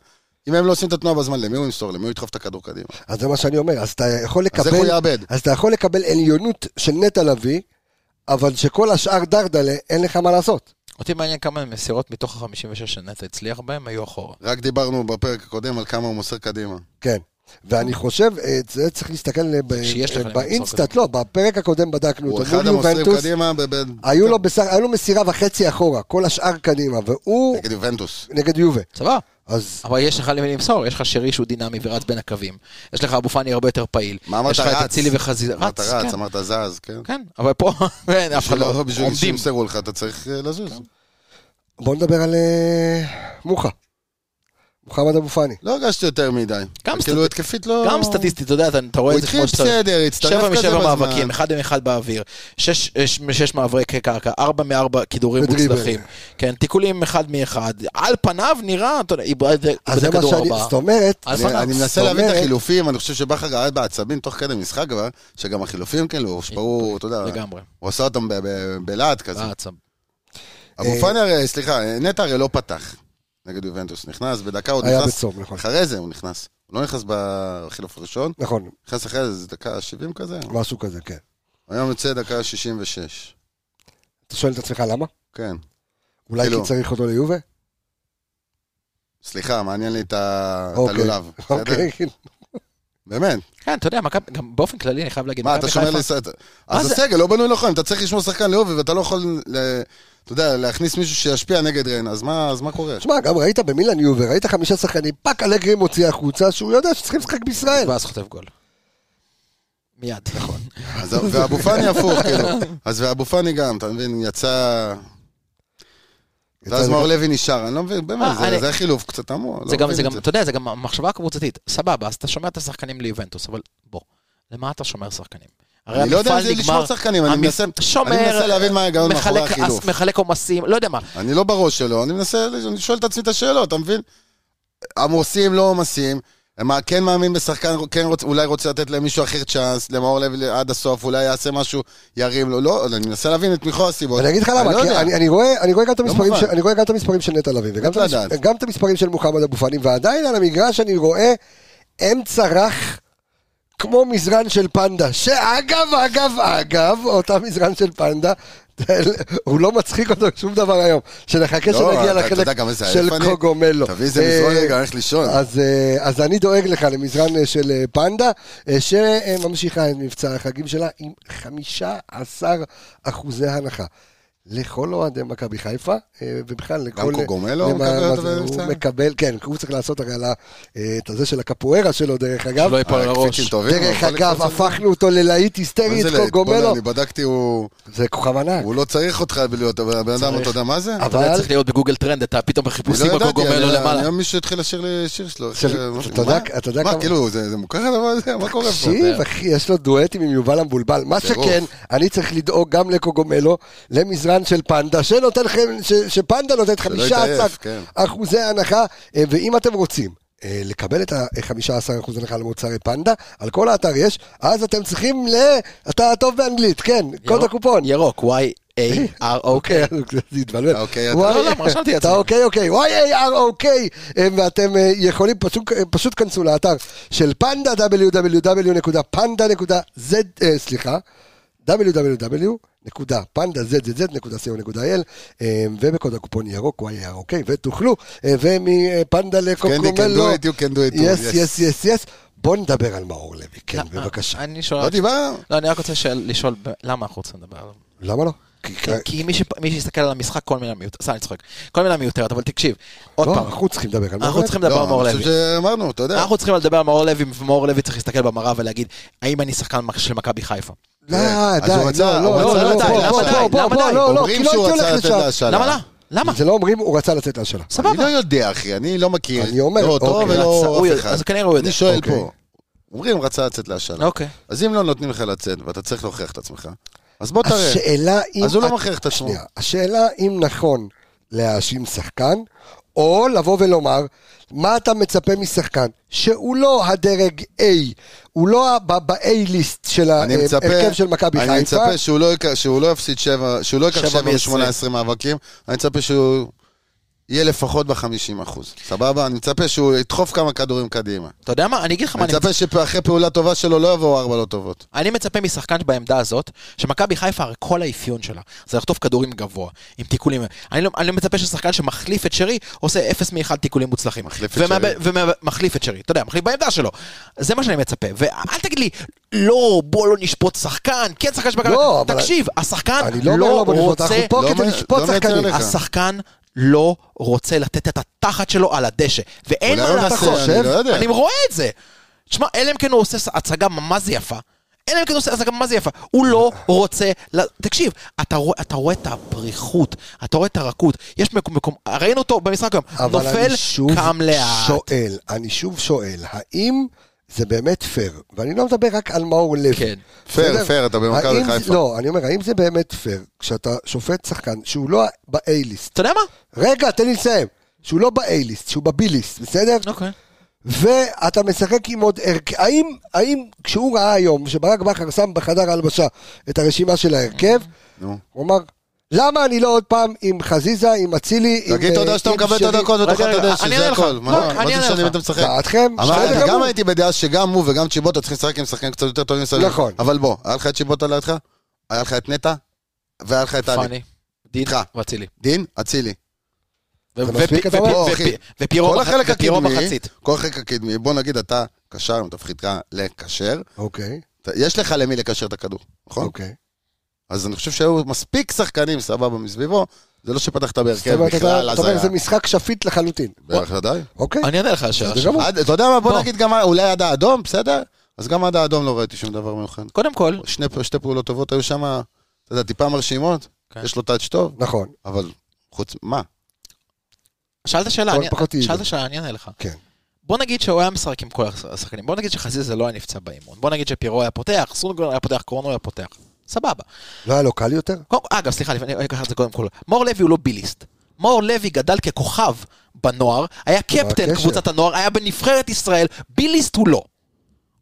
אם הם לא עושים את התנועה בזמן, למי הוא ימסור? למי הוא ידחוף את הכדור קדימה?
אז זה מה שאני אומר, אז אתה יכול לקבל...
לא- אז איך הוא יאבד?
אז אתה יכול לקבל עליונות של נטע לביא, אבל שכל השאר דרדלה, אין לך מה לעשות.
אותי מעניין כמה מסירות מתוך ה-56 שנטע הצליח בהם היו אחורה.
רק דיברנו בפרק הקודם על כמה הוא מוסר קדימה.
כן. ואני חושב, אה, זה צריך להסתכל אה, ב-
שיש לך
אה,
למי למסור
באינסטנט, לא, בפרק הקודם בדקנו
הוא
אותו,
אחד
מול
המוסרים
יובנטוס,
קדימה ב- ב-
היו לו בסך- היו לו מסירה וחצי אחורה, כל השאר קדימה, והוא
נגד יובנטוס.
נגד יובה.
סבבה.
אז
אבל יש לך למי למסור, יש לך שרי שהוא דינמי ורץ בין הקווים. יש לך אבו פאני הרבה יותר פעיל.
מה אמרת?
יש לך את
רץ.
אצילי וחזיזה.
אמרת
רץ,
רץ,
כן.
אמרת זז, כן.
כן, אבל פה (laughs) אין, אף אחד
בשביל
לא כן.
לא- בשביל
עומדים.
שימסרו לך, אתה צריך אה, לזוז.
בואו נדבר על אה, מוחה. מוחמד אבו פאני.
לא הרגשתי יותר מדי.
גם
כאילו
סטט-
התקפית לא...
גם סטטיסטית, אתה יודע, אתה- אתה רואה
הוא
את זה
התחיל
כמו שצריך.
בסדר, הצטרף
שבע
כזה
משבע
בזמן.
מאבקים, אחד מאחד באוויר, שש- שש משש מאבקי קרקע, ארבע מארבע כידורים
ודריבל.
מוצלחים. כן, תיקולים אחד מאחד. על פניו נראה, אתה יודע, איבד
אז זה
איבד
מה
כדור
שאני,
ארבעה.
זאת אומרת,
על
אני,
פניו.
אני
זאת
מנסה להבין את
אומרת-
החילופים, אני חושב שבכר גרד בעצבים תוך כדי משחק, אבל שגם החילופים כאילו, שפעו, אתה יודע,
אה, לגמרי. אה,
הוא עשה אותם ב- ב- בלהט כזה.
בעצם.
אבו
אה,
פאני הרי, סליחה, נטע הרי לא פתח נגד יובנטוס, נכנס בדקה, הוא
היה
נכנס,
בצום, נכון.
אחרי זה הוא נכנס, הוא לא נכנס בחילוף הראשון,
נכון,
נכנס אחרי זה, זה דקה 70 כזה,
משהו כזה, כן.
היום יוצא דקה 66,
אתה שואל את עצמך למה?
כן.
אולי
כאילו.
כי צריך אותו ליובה? סליחה,
סליחה, מעניין לי את ה- את
אוקיי.
הלולב, בסדר?
אוקיי, כאילו.
באמת.
כן, אתה יודע, מכבי- גם באופן כללי, אני חייב להגיד,
מה, אתה
מכבי
שומר
אוקיי. חיפה-
לי... אז
זה?
הסגל לא בנוי נכון, אתה צריך לשמור שחקן לאובי ואתה לא יכול, ל- אתה יודע, להכניס מישהו שישפיע נגד ריינה, אז מה אז מה קורה?
תשמע, גם ראית במילן יובה, ראית חמישה שחקנים, פאק אלגרי מוציא החוצה, שהוא יודע שצריכים לשחק בישראל.
ואז חוטף גול. מיד. נכון.
אז- ואבו פאני הפוך, כאילו. אז ואבו פאני גם, אתה מבין, יצא... ואז
יצא
מאור
לך-
לוי נשאר, אני לא מבין,
אה,
באמת, זה-
אני-
זה חילוף קצת לא אמור.
זה גם, זה גם, אתה יודע, זה גם המחשבה הקבוצתית. סבבה, אז אתה שומע את השחקנים ליובנטוס, אבל בוא, למה אתה שומר שחקנים? הרי
אני לא יודע
המפעל
אם זה
נגמר,
לשמור שחקנים, אני
המפ-
מנסה-
שומר,
אני מנסה להבין מה ההיגיון
מחלק
מאחורי
אס-
החילוף.
מחלק עומסים, לא יודע מה.
אני לא בראש שלו, אני מנסה, אני שואל את עצמי את השאלות, אתה מבין? עמוסים, לא עומסים, מה, כן מאמין בשחקן, כן רוצ, אולי רוצה לתת למישהו אחר צ'אנס, למאור לוי עד הסוף, אולי יעשה משהו, ירים לו, לא, אני מנסה להבין את מכלול הסיבות.
אני אגיד לך
לא
למה, כי
יודע. לא
אני- אני רואה- אני רואה גם את המספרים
מובן. לא
של- אני רואה גם את המספרים של נטע לביא, וגם
מת
את המס-
לדעת.
גם את המספרים של מוחמד אבו פאני, ועדיין על המגרש אני רואה אמצע רך כמו מזרן של פנדה, שאגב, אגב, אגב, אותה מזרן של פנדה, הוא לא מצחיק אותו שום דבר היום, שנחכה
לא,
שנגיע
אתה- אתה
לחלק
יודע כמה זה
של
עייף אני?
קוגומלו.
תביא איזה מזרון
אה,
רגע, הולך לישון.
אז, אה, אז אני דואג לך למזרן אה, של אה, פנדה, אה, שממשיכה את מבצע החגים שלה עם 15 אחוזי הנחה. לכל אוהדי מכבי חיפה, אה, ובכלל לכל...
קוגומלו
למה-
מקבל
מה
את
זה,
המבצע?
הוא מקבל, כן, הוא צריך לעשות הרי על ה- אה, את הזה של הקפוארה שלו, דרך אגב.
שלא ייפול
אה, הקפיצים
לראש.
טובים,
דרך
אבל
אגב,
כל הקבוצה-
הפכנו אותו ללהיט היסטרי,
מה
את
זה לעת? בוא'נה,
קוגומלו.
אני בדקתי, הוא
זה כוכב ענק.
הוא לא צריך אותך להיות, אבל הבן אדם, אתה יודע מה זה?
אתה יודע, צריך להיות בגוגל טרנד, אתה פתאום
אני לא
בחיפושים
ידעתי,
בקוגומלו
אני-
למעלה.
היום מישהו התחיל לשיר לי שיר שלו. איך
של-
ש- משהו,
אתה יודע-
מה?
אתה יודע
מה,
כמה-
כאילו, זה זה מוכר הדבר הזה? מה קורה פה?
תקשיב, אחי, יש לו דואטים עם יובל המבולבל. מה
טירוף.
שכן, אני צריך לדאוג גם לקוגומלו, למזרן הקטן של פנדה, שנותן לכם, ש, שפנדה נותנת
לא
15
יתעייף, כן.
אחוזי הנחה, אה, ואם אתם רוצים אה, לקבל את ה-15 אחוז הנחה למוצרי פנדה, על כל האתר יש, אז אתם צריכים ל... אתה טוב באנגלית, כן, קוד הקופון.
ירוק, Y-A-R-O-K.
אוקיי,
(laughs)
זה התבלבל.
אוקיי, אתה-
וואי,
לא, לא, רשמתי
אתה
לעצמי.
אוקיי, אוקיי, Y-A-R-O-K, אה, ואתם אה, יכולים, פשוט- אה, פשוט כנסו לאתר של פנדה, www.panda.z, אה, סליחה, www.panda.zzz.co.il, אה, ובקוד הקופון ירוק, Y-A-R-O-K, ותוכלו, אה, ומפנדה
כן,
לקוקרומלו.
can do it, you can do it too,
יס,
yes.
יס, יס, יס. בוא נדבר על מאור לוי, כן, בבקשה.
אה, אני שואל...
לא דיברנו?
לא, אני רק רוצה שאל- לשאול, ב- למה אנחנו רוצים לדבר עליו?
למה לא? כי-
אה, כי- כי מי ש- מי שיסתכל על המשחק, כל מילה מיותרת, סתם אני צוחק, כל מילה מיותרת, אבל תקשיב, עוד
לא,
פעם,
אנחנו צריכים לדבר על מאור
אנחנו
לוי.
צריכים לדבר על מאור
לא, אני
לוי.
חושב שאמרנו, אתה יודע.
לא, אנחנו צריכים לדבר על מאור לוי, ומאור לוי צריך להסתכל במראה ולהגיד, האם אני שחקן של מכבי חיפה?
לא,
אז
די,
הוא
לא,
רצה-
לא,
הוא
לא,
רצה
לא,
לצאת,
בוא,
למה
בוא,
די?
בוא,
למה
בוא,
די?
לא, לא,
אומרים
כי לא
שהוא
הייתי
רצה
הולך
לתת
לשם.
להשאלה.
למה לא? למה?
זה לא אומרים, הוא רצה לצאת להשאלה.
אני לא יודע, אחי, אני לא מכיר.
אני אומר,
לא אותו
אוקיי.
ולא
הוא-
אף אחד.
אז כנראה הוא יודע.
אני שואל
אוקיי.
פה. אומרים, רצה לצאת להשאלה.
אוקיי.
אז אם לא נותנים לך לצאת, ואתה צריך להוכיח את עצמך, אז בוא תראה.
השאלה אם...
אז הוא לא
את-
מכריח את עצמו.
שנייה, השאלה אם נכון להאשים שחקן, או לבוא ולומר, מה אתה מצפה משחקן שהוא לא הדרג A, הוא לא ב- ב-A-ליסט של
אני מצפה,
ההרכב אה, של מכבי
אני
חיפה,
מצפה שהוא לא, יק- שהוא לא יפסיד שבע, שהוא לא ייקח
שבע
שבע
מ-
מ-18 מאבקים, אני מצפה שהוא יהיה לפחות ב-50 אחוז, סבבה? אני מצפה שהוא ידחוף כמה כדורים קדימה.
אתה יודע מה? אני אגיד לך מה
אני
אני
מצפה שאחרי פעולה טובה שלו לא יבואו ארבע לא טובות.
אני מצפה משחקן בעמדה הזאת, שמכבי חיפה, הרי כל האפיון שלה, זה לחטוף כדורים גבוה, עם תיקולים. אני לא, אני לא מצפה ששחקן שמחליף את שרי, עושה 0 מ-1 תיקולים מוצלחים.
מחליף את שרי.
ומחליף את שרי, אתה יודע, מחליף בעמדה שלו. זה מה שאני מצפה. ואל תגיד לי, לא, בוא לא נשפוט שחקן, כן שחקן שמכבי...
לא, אבל-
תקשיב, השחקן
אני לא
לא,
אומר לא בוא נשפוט,
רוצה...
אנחנו פה
לא
כדי
מ-
לשפוט
לא מייצר
שחקנים.
לך.
השחקן לא רוצה לתת את התחת שלו על הדשא, ואין
אולי
מה
הוא
לעשות.
מנסה, אני לא יודע.
אני רואה את זה. תשמע, אלא אם כן הוא עושה הצגה ממש זה יפה. אלא אם כן הוא עושה הצגה ממש זה יפה. הוא לא רוצה... ל- תקשיב, אתה רואה, אתה רואה את הפריחות, אתה רואה את הרכות. יש מקום, מקום ראינו אותו במשחק היום.
אבל
נופל,
אני שוב
קם לאט.
שואל, אני שוב שואל, האם זה באמת פייר? ואני לא מדבר רק על מאור לוי.
כן.
פייר,
בסדר?
פייר, אתה במכבי
האם זה-
חיפה.
לא, אני אומר, האם זה באמת פייר כשאתה שופט שחקן שהוא לא ב-A-ליסט?
אתה יודע מה?
רגע, תן לי לסיים. שהוא לא ב-A-ליסט, שהוא ב-B-ליסט, בסדר?
אוקיי.
ואתה משחק עם עוד הרכב, האם, האם כשהוא ראה היום שברק בכר שם בחדר ההלבשה את הרשימה של ההרכב,
נו.
הוא אמר, למה אני לא עוד פעם עם חזיזה, עם אצילי, עם...
תגיד
אה,
תודה שאתה
עם
מקבל את
שרי?"
הדקות
רגע,
ותאכל את
רגע,
הדשא,
אני
זה
אענה לך.
הכל.
לא,
מה
אני
מה
אענה
זה משנה
לך. אה,
אם אתה משחק?
דעתכם?
אמרתי,
בסדר
גם
גמור.
הייתי בדעה שגם הוא וגם צ'יבוטה צריכים לשחק עם שחקנים קצת יותר טובים מסביב.
נכון.
אבל בוא, היה לך את צ'יבוטה לידך, היה לך את נטע, והיה לך את עלי.
פאני. דין
איתך.
ואצילי.
דין, אצילי.
ו-
זה
ו-
מספיק,
ו-
אתה
ו-
אומר?
ו-
בוא, אחי.
ו- ופירו
כל
בח-
החלק
ופירו
הקדמי,
בחצית.
כל החלק הקדמי, בוא נגיד אתה קשר עם תפקידך לקשר,
אוקיי,
אתה- יש לך למי לקשר את הכדור, נכון?
אוקיי.
אז אני חושב שהיו מספיק שחקנים סבבה מסביבו, זה לא שפתחת
זאת
בהרכב
אומרת,
בכלל,
אתה אתה
אז
אומר,
היה.
זה משחק שפיט לחלוטין.
בערך ודאי.
אוקיי.
אני אענה לך על השאלה
זה
שלך.
גמור.
עד- אתה יודע מה, בוא
בוא.
נגיד גם, אולי עד האדום, בסדר? אז גם עד האדום לא ראיתי שום דבר מיוחד.
קודם כל,
שני, שתי פעולות טובות היו שם, אתה יודע, טיפה מרשימות,
כן.
יש לו טאץ' טוב,
נכון.
אבל חוץ, מה?
שאלת שאלה,
כל
אני-
פחות היא-
שאלת שאלה, אני אענה לך.
כן.
בוא נגיד שהוא היה משחק עם כל השחקנים, בוא נגיד שחזיזה לא היה נפצע באימון, בוא נגיד שפירו היה פותח, סונגרן היה פותח, קורנו היה פותח, סבבה.
לא היה לו קל יותר?
קודם, אגב, סליחה, לפני- אני אקח את זה קודם כל. מאור לוי הוא לא ביליסט. מאור לוי גדל ככוכב בנוער, היה קפטן
הקשר?
קבוצת הנוער, היה בנבחרת ישראל, ביליסט הוא לא.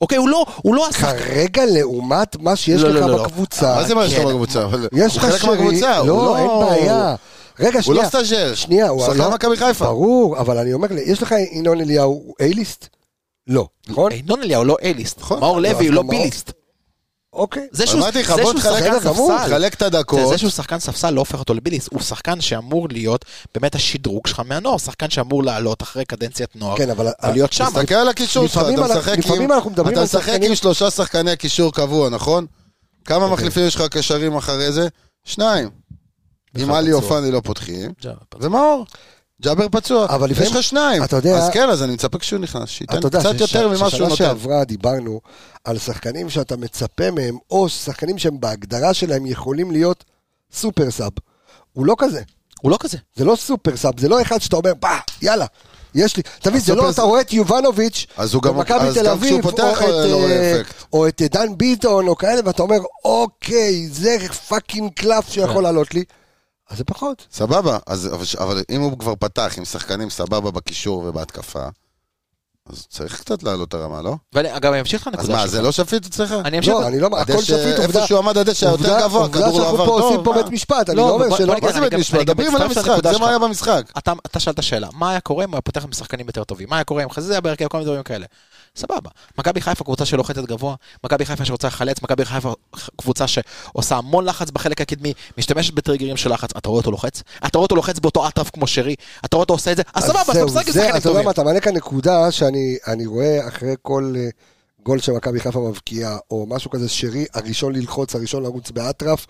אוקיי, הוא לא, הוא לא השחקן.
כרגע לעומת מה שיש
לא,
לך
לא, לא, לא.
בקבוצה.
מה זה מה יש
כן.
לו בקבוצה? אבל
יש
הוא
לך
חלק
שרי,
מהקבוצה, הוא
לא, אין בעיה. רגע,
הוא
שנייה.
לא סטאז'ר,
שנייה, הוא
שחקן
לא-
מכבי חיפה.
ברור, אבל אני אומר, יש לך ינון אליהו, הוא A-ליסט? לא, נכון?
ינון אליהו לא אייליסט,
נכון.
מאור
לא,
לוי
אז
הוא לא
גם מאור.
ביליסט.
אוקיי.
זה שהוא
אמרתי
זה
לך, בוא
שהוא
תחלק
שחקן
בסדר גמור,
ספסל,
חלק את
זה, זה
הדקות,
שהוא שחקן ספסל לא הופך אותו לביליס, הוא שחקן שאמור להיות באמת השדרוג שלך מהנוער, שחקן שאמור לעלות אחרי קדנציית נוער,
כן, אבל-
ולהיות שם.
תסתכל על הקישור שלך,
לפעמים
אתה
אנחנו-
משחק עם...
לפעמים אנחנו מדברים
אתה
על
משחק
שחקנים- אוקיי.
עם שלושה שחקני קישור קבוע, נכון? כמה מחליפים יש לך קשרים אחרי זה? שניים.
נכון,
אם עלי
פצוע.
אופני לא פותחים,
ג'אבר פצוע.
ומאור. ג'אבר פצוע,
אבל לפעמים-
יש לך שניים.
אתה יודע-
אז כן, אז אני מצפה כשהוא נכנס, שייתן
אתה יודע
כן, קצת יותר ממה שהוא
ששנה
נותן.
שעברה דיברנו על שחקנים שאתה מצפה מהם, או שחקנים שהם בהגדרה שלהם יכולים להיות סופר סאב. הוא לא כזה.
הוא לא כזה.
זה לא סופר סאב, זה לא אחד שאתה אומר, בא, יאללה, יש לי. תבין, זה
הסופר
לא, אתה
זה-
רואה את יובנוביץ',
אז הוא גם-
במכבי
אז
תל
גם
אביב,
כשהוא פותח
או
לא
את,
רואה
אה,
אפקט.
או את אה,
כן.
דן ביטון, או כאלה, ואתה אומר, אוקיי, זה פאקינג קלף שיכול לעלות לי. אז זה פחות.
סבבה, אז, אבל, ש- אבל אם הוא כבר פתח עם שחקנים סבבה בקישור ובהתקפה, אז צריך קצת לעלות את הרמה, לא?
ואני אגב, אני אמשיך את הנקודה
אז
שלך.
מה, זה לא שפיט אצלך?
אני אמשיך...
לא, אני לא... הכל
הדשא-
שפיט, עובדה.
איפה שהוא עמד הדשא יותר
עובדה-
אה, גבוה,
עובדה
הכדור לא
שאנחנו
עבר
פה
טוב,
עושים פה
מה?
בית משפט, אני
לא,
לא
בוא-
אומר שלא.
בוא נגיד-
מה זה
אני
בית
גם-
משפט?
אני גם
מדברים על
מצטרף
המשחק,
לנקודה
זה מה
שלך.
היה במשחק.
אתה, אתה שאלת שאלה, מה היה קורה אם הוא היה פותח עם שחקנים יותר טובים? מה היה קורה אם חזיזה היה בהרכב, כל מיני דברים כאלה. סבבה. מכבי חיפה קבוצה שלוחצת גבוה, מכבי חיפה שרוצה לחלץ, מכבי חיפה קבוצה שעושה המון לחץ בחלק הקדמי, משתמשת בטריגרים של לחץ. אתה רואה אותו לוחץ? אתה רואה אותו לוחץ באותו אטרף כמו שרי? אתה רואה אותו עושה את זה? אז סבבה, אז אתה
זהו,
משחק עם
זה-
שחקנים
אתה יודע
טובים.
מה, אתה מעלה כאן נקודה שאני אני רואה אחרי כל אה, גול שמכבי חיפה מבקיעה, או משהו כזה, שרי הראשון ללחוץ, הראשון לרוץ באטרף.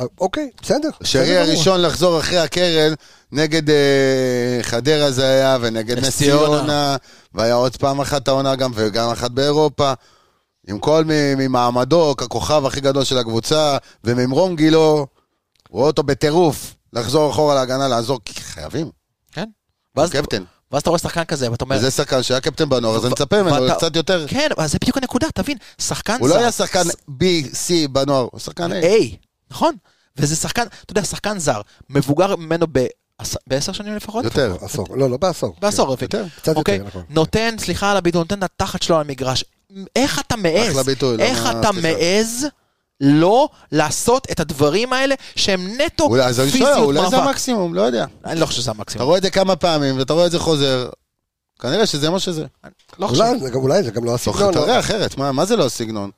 אה, אוקיי, בסדר.
שרי
בסדר גמור.
הראשון לחזור אחרי הקרן, נגד אה, חדרה זה היה, ונגד
נס
נס
ציונה.
ציונה, והיה עוד פעם אחת העונה גם, וגם אחת באירופה. עם כל מ- ממעמדו, ככוכב הכי גדול של הקבוצה, וממרום גילו, רואה אותו בטירוף, לחזור אחורה להגנה, לעזור, כי חייבים,
כן.
הוא
ואז,
קפטן.
ואז אתה רואה שחקן כזה, ואתה אומר...
אוקיי, וזה שחקן שהיה קפטן בנוער, אז אני מצפה ממנו
ואתה-
קצת יותר.
כן, אבל זה בדיוק הנקודה, תבין. שחקן
הוא לא
זר-
היה שחקן B, C בנוער, הוא שחקן A.
איי, נכון. וזה שחקן, אתה יודע, שחקן זר, מבוגר ממנו בעש- בעשר שנים לפחות?
יותר. כן,
עשור, לא, לא בעשור.
בעשור רביעי.
יותר,
קצת יותר,
אוקיי?
נכון.
נותן, סליחה על הביטוי, נותן את התחת שלו על המגרש. איך אתה מעז?
אחלה ביטוי, לא,
איך
מה,
אתה
סליחה.
מעז לא לעשות את הדברים האלה שהם נטו
אולי, אז אני שואל,
פיזיות
אולי זה
מאבק?
המקסימום, לא יודע.
אני לא חושב שזה
אתה
המקסימום.
רואה את זה כמה פעמים, ואתה רואה את זה חוזר, כנראה שזה מה שזה.
לא חושב.
אולי זה גם- אולי זה גם לא
תוך
הסגנון.
אתה
לא?
רואה אחרת, מה מה זה לא הסגנון?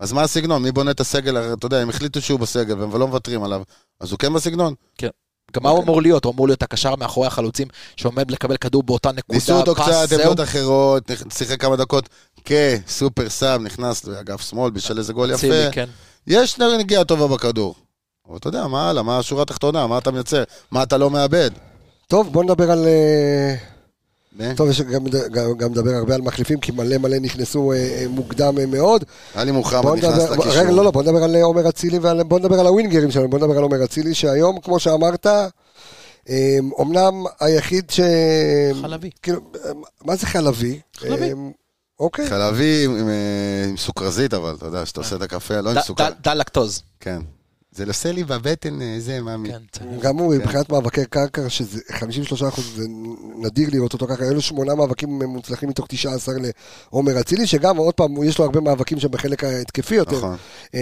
אז מה הסגנון? מי בונה את הסגל? הרי, אתה יודע, הם החליטו שהוא בסגל והם לא מוותרים עליו, אז הוא כן בסגנון.
גם מה הוא
אוקיי.
אמור להיות? הוא אמור להיות הקשר מאחורי החלוצים שעומד לקבל כדור באותה נקודה.
ניסו אותו
פס,
קצת, לא
זהו.
עמדות אחרות, נכ- שיחק כמה דקות כסופר סאב, נכנס לאגף שמאל, בשל איזה גול
ציני,
יפה.
כן.
יש נגיעה טובה בכדור. אבל אתה יודע, מה הלאה? מה השורה התחתונה? מה אתה מייצר? מה אתה לא מאבד?
טוב, בוא נדבר על... אה,
נה,
טוב, יש גם, גם, גם לדבר הרבה על מחליפים, כי מלא מלא נכנסו אה, אה, מוקדם אה, מאוד.
עלי
בוא
מוחמד נכנס
נדבר, בוא- רגע, לא,
לקישור.
לא, בוא נדבר על אה, עומר אצילי, ועל- בוא נדבר על הווינגרים שלנו, בוא נדבר על עומר אצילי, שהיום, כמו שאמרת, אה, אומנם היחיד ש...
חלבי.
כאילו, אה, מה זה חלבי?
חלבי.
אה, אוקיי.
חלבי עם, אה, עם סוכרזית, אבל אתה יודע, שאתה עושה את הקפה, לא עם
ד-
סוכר.
ד- דל לקטוז.
כן. זה עושה לי בבטן אה, זה, מאמי.
כן, זה-
גם הוא, מבחינת מאבקי קרקע, שזה 53 אחוז, זה נדיר לראות אותו ככה, היו לו שמונה מאבקים מוצלחים מתוך 19 לעומר אצילי, שגם, עוד פעם, יש לו הרבה מאבקים שם בחלק ההתקפי יותר.
נכון.
אמ,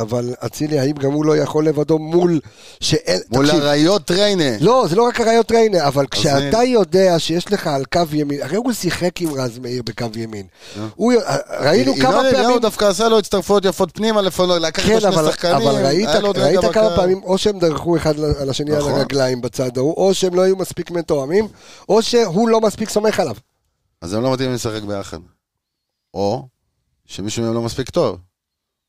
אבל אצילי, האם גם הוא לא יכול לבדו מול שאין...
מול
תקשיב,
אריות ריינה.
לא, זה לא רק הראיות ריינה, אבל
זה-
כשאתה יודע שיש לך על קו ימין, הרי הוא שיחק עם רז מאיר בקו ימין.
אה.
הוא- ראינו
ינון
כמה
אליהו
פעמים...
דווקא עשה לו הצטרפויות יפות פנימה, לפעמים לקח לו
כן, אבל,
שני שחקנים.
אבל ראית,
היה לו עוד
ראית
רגע
כמה
בקו.
פעמים, או שהם דרכו אחד ל- על השני
נכון.
על הרגליים בצד ההוא, או שהם לא היו מספיק מתואמים, או שהוא לא מספיק סומך עליו.
אז הם לא מתאימים לשחק ביחד. או שמישהו מהם לא מספיק טוב.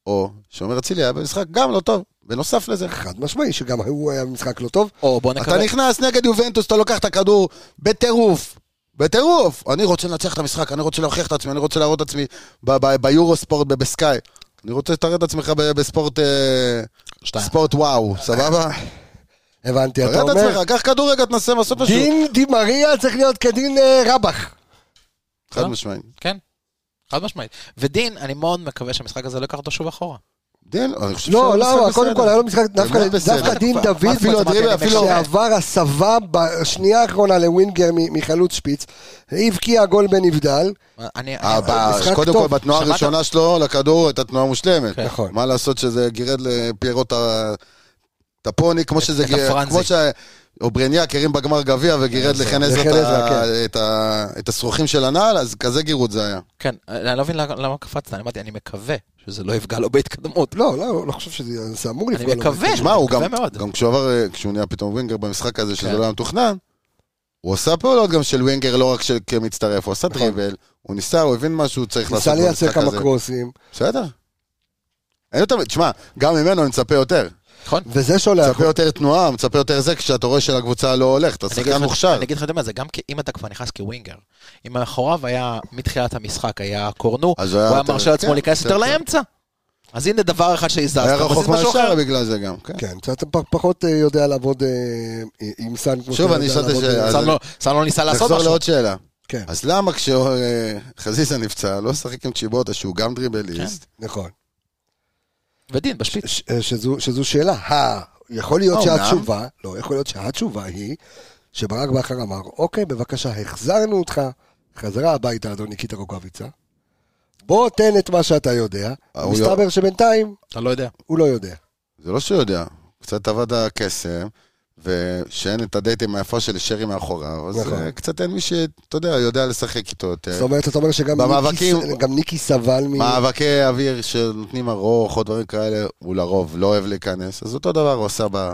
או שאומר אצילי היה במשחק גם לא טוב. בנוסף לזה.
חד משמעי, שגם הוא היה במשחק לא טוב.
או בוא
אתה
נקווה.
נכנס נגד יובנטוס, אתה לוקח את הכדור בטירוף. בטירוף. אני רוצה לנצח את המשחק, אני רוצה להוכיח את עצמי, אני רוצה להראות את עצמי ב- ב- ביורו ספורט, ב- בסקאי. אני רוצה לתאר את עצמך ב- בספורט אה,
שתיים.
ספורט וואו, סבבה?
הבנתי, אתה
תראה את
אומר,
עצמך, קח כדור רגע, תנסה לעשות משהו.
דין די מריה צריך להיות כדין אה, רבח.
חד משמעית.
כן, חד משמעית. ודין, אני מאוד מקווה שהמשחק הזה לא ייקח אותו שוב אחורה.
אה, דין, אני חושב
לא,
שהיה משחק
לא,
בסדר.
קודם כל היה לו משחק, דווקא-
באמת בסדר.
דווקא דין
מה,
דוד,
מה,
אפילו
מה,
הדריבל,
מה,
אפילו-
מה,
שעבר הסבה בשנייה האחרונה לווינגר מ- מחלוץ שפיץ, הבקיע גול בנבדל.
מה, אני...
אה,
אני-
ב-
משחק
קודם כל,
טוב.
בתנועה
שמעת?
הראשונה שלו לכדור הייתה תנועה מושלמת.
כן.
נכון.
מה לעשות שזה גירד לפיירות ה- טפוני, כמו שזה
את
גירד,
הפרנזי.
כמו שאוברניאק הרים בגמר גביע וגירד לחן עזרא את
לחן עזרא,
ה-
כן.
את ה- את השרוכים של הנעל, אז כזה גירות זה היה.
כן, אני לא מבין למה למה קפצת, אני אמרתי, אני מקווה שזה לא יפגע לו בהתקדמות.
לא, לא, לא חושב שזה זה אמור
אני
לפגוע. לו.
מקווה, אני
תשמע, הוא גם,
מקווה מאוד.
גם כשהוא עבר, אה, כשהוא נהיה פתאום ווינגר במשחק הזה, שזה
כן.
לא היה מתוכנן, הוא עשה פעולות גם של ווינגר, לא רק של כמצטרף, הוא עשה
נכון.
דריבל, הוא ניסה, הוא הבין מה שהוא צריך לעשות
ניסה לייצר
במשחק
כמה
הזה.
קרוסים,
בסדר. אין יותר, תשמע, גם ממנו אני מצפה יותר.
נכון?
וזה שולח
מצפה יותר תנועה, מצפה יותר זה, כשאתה רואה שלקבוצה לא הולך, אתה
אני אגיד
שחקן
לך-
מוכשר.
אני אגיד לך, אתה יודע מה, זה גם כ- אם אתה כבר נכנס כווינגר. אם מאחוריו היה, מתחילת המשחק היה קורנו,
אז
הוא היה
יותר-
מרשה לעצמו
כן,
להיכנס יותר
כן.
לאמצע. אז הנה דבר אחד שהזזת,
היה
אתה
רחוק
מזיז משהו
מהשאר
אחר.
בגלל זה גם, כן.
כן, אתה פ- פחות אה, יודע לעבוד אה, עם סאן כמו
שוב,
שאתה
אני
יודע
אשאל את
לעבוד,
השאלה.
אה,
אז
סאן
אני-
לא- סאן לא ניסה לעשות
נחזור
משהו.
לעוד שאלה.
כן,
אז למה כשחזיזה נפצע, לא שחק עם צ'יבוטה, שהוא
כן.
גם דריבליסט,
נכון.
ודין, בשפיץ.
ש- אה, שזו שזו שאלה, ה- יכול להיות
האומנם?
שהתשובה, לא, יכול להיות שהתשובה היא שברק בכר אמר, אוקיי, בבקשה, החזרנו אותך חזרה הביתה, אדון ניקיטה רוקאביצה. בוא תן את מה שאתה יודע.
אה, הוא
מסתבר שבינתיים
אתה לא יודע.
הוא לא יודע.
זה לא שהוא יודע, קצת עבד הקסם, ושאין את הדייטים היפה של שרי מאחוריו, אז
נכון.
אה, קצת אין מי שאתה יודע, יודע לשחק איתו יותר.
זאת אומרת, אתה אומר שגם
אה, במאבקים-
ניקי ס- גם ניקי סבל מ...
מאבקי אוויר שנותנים ארוך או דברים כאלה, הוא לרוב לא אוהב להיכנס, אז אותו דבר הוא עשה ב...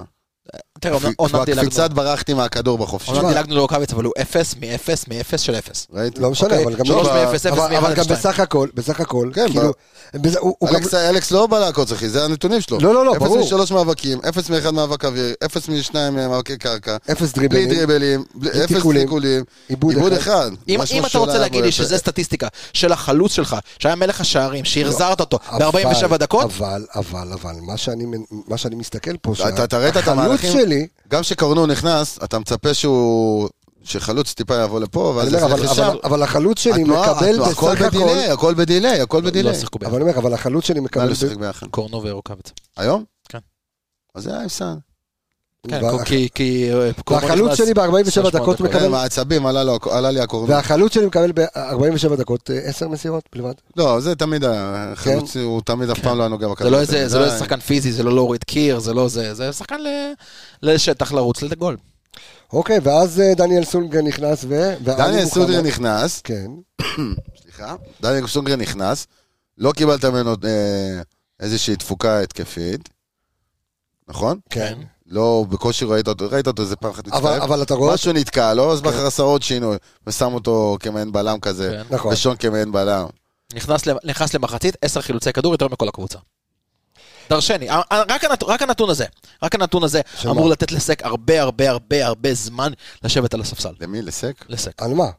תראה, עונה- עונה דילגנו.
קפיצת ברחתי מהכדור בחופשי.
עונה דילגנו לרוקאביץ, אבל הוא אפס מאפס מאפס של אפס.
ראית?
לא משנה,
אוקיי,
אבל גם...
שלוש
לא-
מאפס, אפס
אבל-
מאחד
אבל
עד
גם
שתיים.
בסך הכל, בסך הכל,
כן,
כאילו... בזה- הוא הוא גם...
אלכס- אלכס לא בא לעקוץ, אחי, זה הנתונים שלו.
לא, לא, לא, ברור.
אפס משלוש מאבקים, אפס מאחד מאבק אוויר, אפס משניים מאבקי קרקע.
אפס
בלי
דריבלים,
דריבלים, בלי-
בלי
אפס
תיקולים.
תיקולים,
עיבוד
עיבוד
אחד.
אחד.
אם,
משהו
אם אתה
שלא
רוצה
היה
להגיד
בו
לי
יפה.
שזה סטטיסטיקה של החלוץ שלך, שהיה מלך השערים, שהחזרת אותו
אבל-
ב-47 דקות,
אבל, אבל, אבל, מה שאני, מה שאני מסתכל פה,
אתה תראה את המהלכים.
שלי,
גם כשקרנו נכנס, אתה מצפה שהוא... שחלוץ טיפה יבוא לפה,
אני
ואז
אומר, אבל,
יחליף לשם.
אבל, אבל החלוץ שלי
התנועה-
מקבל
התנועה-
בסך הכל,
הכל בדיליי, הכל בדיליי, הכל
לא
בדיליי.
שיחקו
אבל
ביחד.
אני אומר, אבל החלוץ שלי
לא
מקבל,
לשחק ביחד.
קורנו ורוקאביץ.
היום?
כן.
אז זה היה עם סאן.
כן,
וה-
כי- כי... אה, קורנו
והחלוץ
נכנס
שלי ב-47
28
דקות מקבל-
כן, מהעצבים עלה לו- עלה לי הקורנר.
והחלוץ שלי מקבל ב-47 דקות 10 מסירות בלבד.
לא, זה תמיד היה, חלוץ הוא תמיד אף פעם לא היה נוגע בכדור.
זה לא איזה זה לא
די.
איזה שחקן פיזי, זה לא להוריד קיר, זה לא זה, זה שחקן ל- לשטח לרוץ לגול.
אוקיי, ואז אה, דניאל סונגרן נכנס ו... ואלי
דניאל
מוחמד-
סונגרן נכנס,
כן,
סליחה, דניאל סונגרן נכנס, לא קיבלת ממנו אה, איזושהי תפוקה התקפית, נכון?
כן.
לא, בקושי ראית אותו, ראית אותו איזה פעם אחת
אבל,
מצטער.
אבל לא- אתה רואה...
משהו נתקע לו, אז בכר עשה עוד שינוי, ושם אותו כמעין בלם כזה,
כן.
נכון.
ושון כמעין בלם.
נכנס למ- נכנס למחצית, 10 חילוצי כדור יותר מכל הקבוצה. דרשני, ה- ה- רק הנת- רק הנתון הזה, רק הנתון הזה
שמה?
אמור לתת לסק הרבה הרבה הרבה הרבה זמן לשבת על הספסל.
למי? לסק?
לסק.
על מה?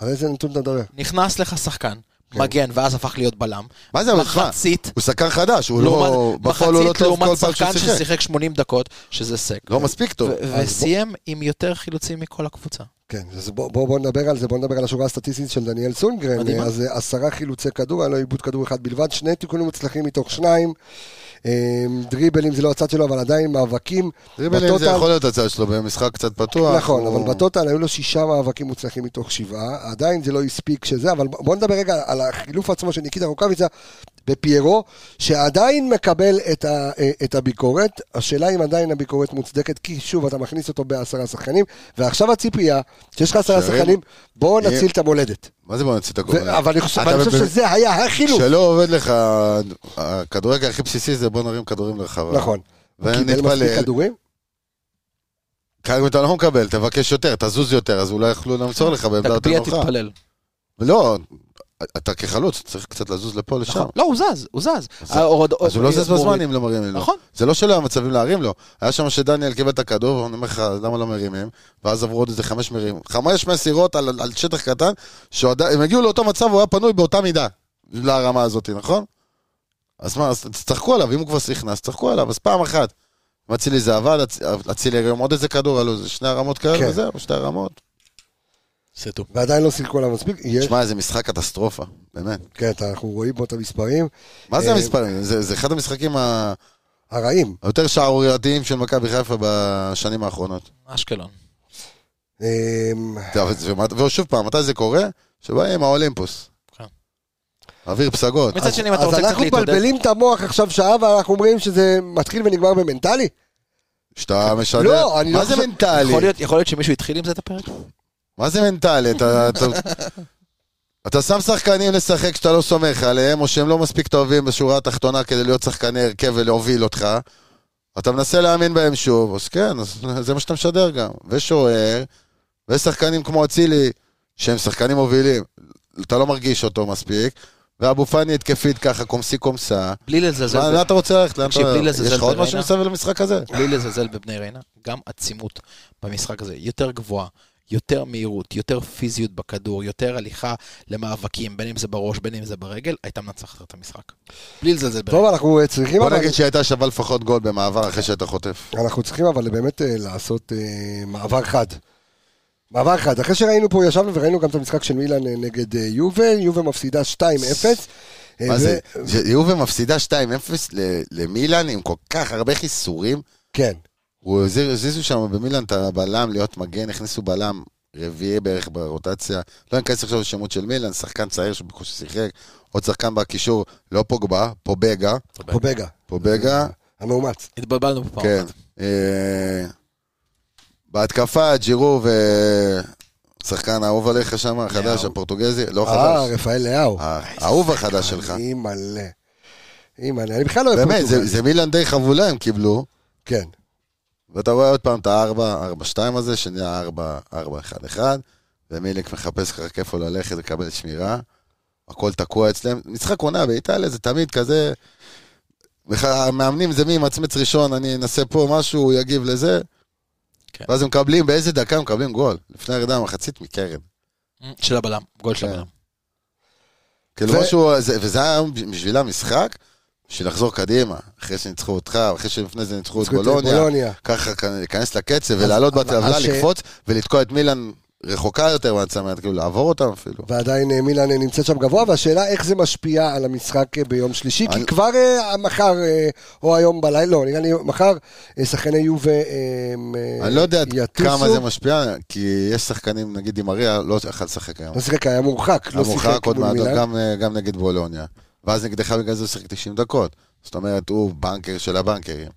על איזה נתון אתה מדבר?
נכנס לך שחקן, מגן, ואז הפך להיות בלם.
מה זה, כן. אבל תשמע,
מחצית,
הוא שחקן חדש, הוא לא...
לעומת-
בפועל הוא לא
מחצית
טוב כל
לעומת
פעם שהוא
שחקן
שיחק.
ששיחק 80 דקות, שזה סק. כן.
לא מספיק טוב.
ו-
בוא-
וסיים עם יותר חילוצים מכל הקבוצה.
כן, אז בוא, בוא, בוא נדבר על זה, בוא נדבר על השורה הסטטיסטית של דניאל סונגרן.
מדהימה.
אז אה, עשרה חילוצי כדור, היה לו עיבוד כדור אחד בלבד, שני תיקונים מוצלחים מתוך שניים. אה, דריבלים זה לא הצד שלו, אבל עדיין מאבקים.
דריבלים זה
בטוטל-
יכול להיות הצד שלו במשחק קצת פתוח.
נכון,
הוא-
אבל בטוטל היו לו שישה מאבקים מוצלחים מתוך שבעה, עדיין זה לא הספיק שזה, אבל בוא נדבר רגע על החילוף עצמו של ניקיטה רוקאביצה בפיירו, שעדיין מקבל את, ה, אה, את הביקורת, השאלה אם עדיין הביקורת מוצדקת, כי שוב, אתה מכניס אותו בעשרה שחקנים, ועכשיו הציפייה, שיש לך עשרה
שרים.
שחקנים, בואו
יהיה-
נציל את המולדת.
מה זה בוא נוציא את
ו-
הגול?
אבל כאילו- אני חושב
אתה
אני חושב
מבין-
שזה היה החילוף.
כשלא עובד לך, הכדורגל הכי בסיסי זה בוא נרים כדורים לרחבה.
נכון. הוא קיבל מספיק
ונתפלל.
כדורים?
כרגע אתה לא מקבל, תבקש יותר, תזוז יותר, אז אולי יוכלו למסור לך בעמדה יותר
תגביה,
נוחה.
תתפלל.
לא, אתה כחלוץ, צריך קצת לזוז לפה, לשם.
נכון. לא, הוא זז, הוא זז.
אז-
ההורדו-
אז הוא לא זז בזמן
מוריד.
אם לא מרימים לו.
נכון.
זה לא שלא היה מצבים להרים לו. היה שם שדניאל קיבל את הכדור, ואני אומר לך, למה לא מרימים? ואז עברו עוד איזה חמש מרימים. חמש מסירות על, על שטח קטן, שהם הגיעו לאותו מצב, הוא היה פנוי באותה מידה, לרמה הזאת, נכון? אז מה, אז תצחקו עליו, אם הוא כבר נכנס, תצחקו עליו, אז פעם אחת. אם אצילי זה עבד, אצ- אצילי הרים עוד איזה כדור, עלו איזה שני הרמות כאלה,
כן.
וזהו, שתי הרמות.
סטו.
ועדיין לא סילקו עליו מספיק? יהיה-
תשמע, איזה משחק קטסטרופה, באמת.
כן, אתה- אנחנו רואים פה את המספרים.
מה זה
אה,
המספרים? זה זה אחד המשחקים ה...
הרעים.
היותר שערורייתיים של מכבי חיפה בשנים האחרונות.
אשקלון.
אמ,
טוב, אז ומה- ושוב פעם, מתי זה קורה? שבאים האולימפוס.
כן.
אוויר פסגות.
מצד שני, אם אתה
אז
רוצה קצת
אנחנו
להתעודד...
מבלבלים את המוח עכשיו שעה ואנחנו אומרים שזה מתחיל ונגמר במנטלי?
שאתה משדר.
לא, אני לא
מה זה
חושב-
מנטלי?
יכול להיות- יכול להיות שמישהו התחיל עם זה את הפרק?
מה זה מנטלי? אתה- אתה- אתה שם שחקנים לשחק שאתה לא סומך עליהם, או שהם לא מספיק טובים בשורה התחתונה כדי להיות שחקני הרכב ולהוביל אותך. אתה מנסה להאמין בהם שוב, אז כן, אז זה מה שאתה משדר גם. ושוער, ושחקנים כמו אצילי, שהם שחקנים מובילים. אתה לא מרגיש אותו מספיק, ואבו פאני התקפית ככה, קומסי קומסה.
בלי לזלזל,
מה- לא?
ב-
לאן אתה רוצה ללכת? לאן אתה...
תקשיב, בלי לזלזל
יש לך עוד משהו
בריינה.
מסביב למשחק הזה?
בלי לזלזל בבני ריינה, גם עצימות במשחק הזה יותר גבוהה, יותר מהירות, יותר פיזיות בכדור, יותר הליכה למאבקים, בין אם זה בראש, בין אם זה ברגל, הייתה מנצחת את המשחק. בלי לזלזל בריינה.
טוב, אנחנו אה, צריכים
בוא
אבל...
נגיד שהיא הייתה שווה לפחות גול במעבר אחרי שאתה חוטף.
אנחנו צריכים אבל באמת אה, לעשות אה, מעבר חד. מעבר חד. אחרי שראינו פה, ישבנו וראינו גם את המשחק של מילאן אה, נגד אה, יובל, יובל מפסידה 2-0. אה,
מה
ו-
זה? יובה מפסידה 2-0 ל- למילאן עם כל כך הרבה חיסורים.
כן.
הוא הזיז- הזיזו שם במילאן את הבלם להיות מגן, הכניסו בלם רביעי בערך ברוטציה. לא ניכנס עכשיו לשמות של מילאן, שחקן צעיר שבקושי שיחק, עוד שחקן בקישור, לא פוגבה, פובגה,
פובגה,
פובגה,
המאומץ.
התבלבלנו פה.
כן. אה, בהתקפה, ג'ירו ושחקן האהוב עליך שם, החדש,
לאהו.
הפורטוגזי, לא
אה,
חדש,
רפאל לאהו.
האהוב החדש שלך.
אימא'לה. אימא'לה, אני בכלל לא אוהב
באמת, זה-
פורטוגל.
זה מילאן די חבולה הם קיבלו.
כן.
ואתה רואה עוד פעם את הארבע, ארבע שתיים הזה, שנהיה ארבע, ארבע אחד אחד, ומיליק מחפש ככה כיף לו ללכת לקבל שמירה, הכל תקוע אצלם. משחק עונה באיטליה זה תמיד כזה, בכלל, המאמנים זה מי ימצמץ ראשון, אני אנסה פה משהו, הוא יגיב לזה,
כן.
ואז הם מקבלים, באיזה דקה הם מקבלים גול, לפני הרדה המחצית מקרן.
של הבלם, גול של
כן.
הבלם.
כאילו
ו-
משהו, זה- וזה היה בשבילה משחק, בשביל לחזור קדימה, אחרי שניצחו אותך, אחרי שלפני זה ניצחו את
זכות
בולוניה.
בולוניה.
ככה כאן- להיכנס לקצב ולעלות
אבל-
בטבלה,
אז ש-
לקפוץ ולתקוע את מילאן רחוקה יותר מהצמרת, כאילו לעבור אותם אפילו.
ועדיין אה, מילאן אה, נמצאת שם גבוה, והשאלה איך זה משפיע על המשחק אה, ביום שלישי,
אני-
כי כבר אה, מחר, אה, או היום בלילה, לא, נראה לי מחר, אה, שחקני יובה אה, אה,
אני לא יודע עד
יטוסו.
כמה זה משפיע, כי יש שחקנים, נגיד עם אריה, לא יכל לשחק היום.
לא שיחק, היה מורחק, לא
המורחק
שיחק
עוד
מול
מעט,
מילאן.
גם, אה, גם נגד בולוניה. ואז נגדך בגלל זה הוא שיחק 90 דקות. זאת אומרת, הוא בנקר של הבנקרים.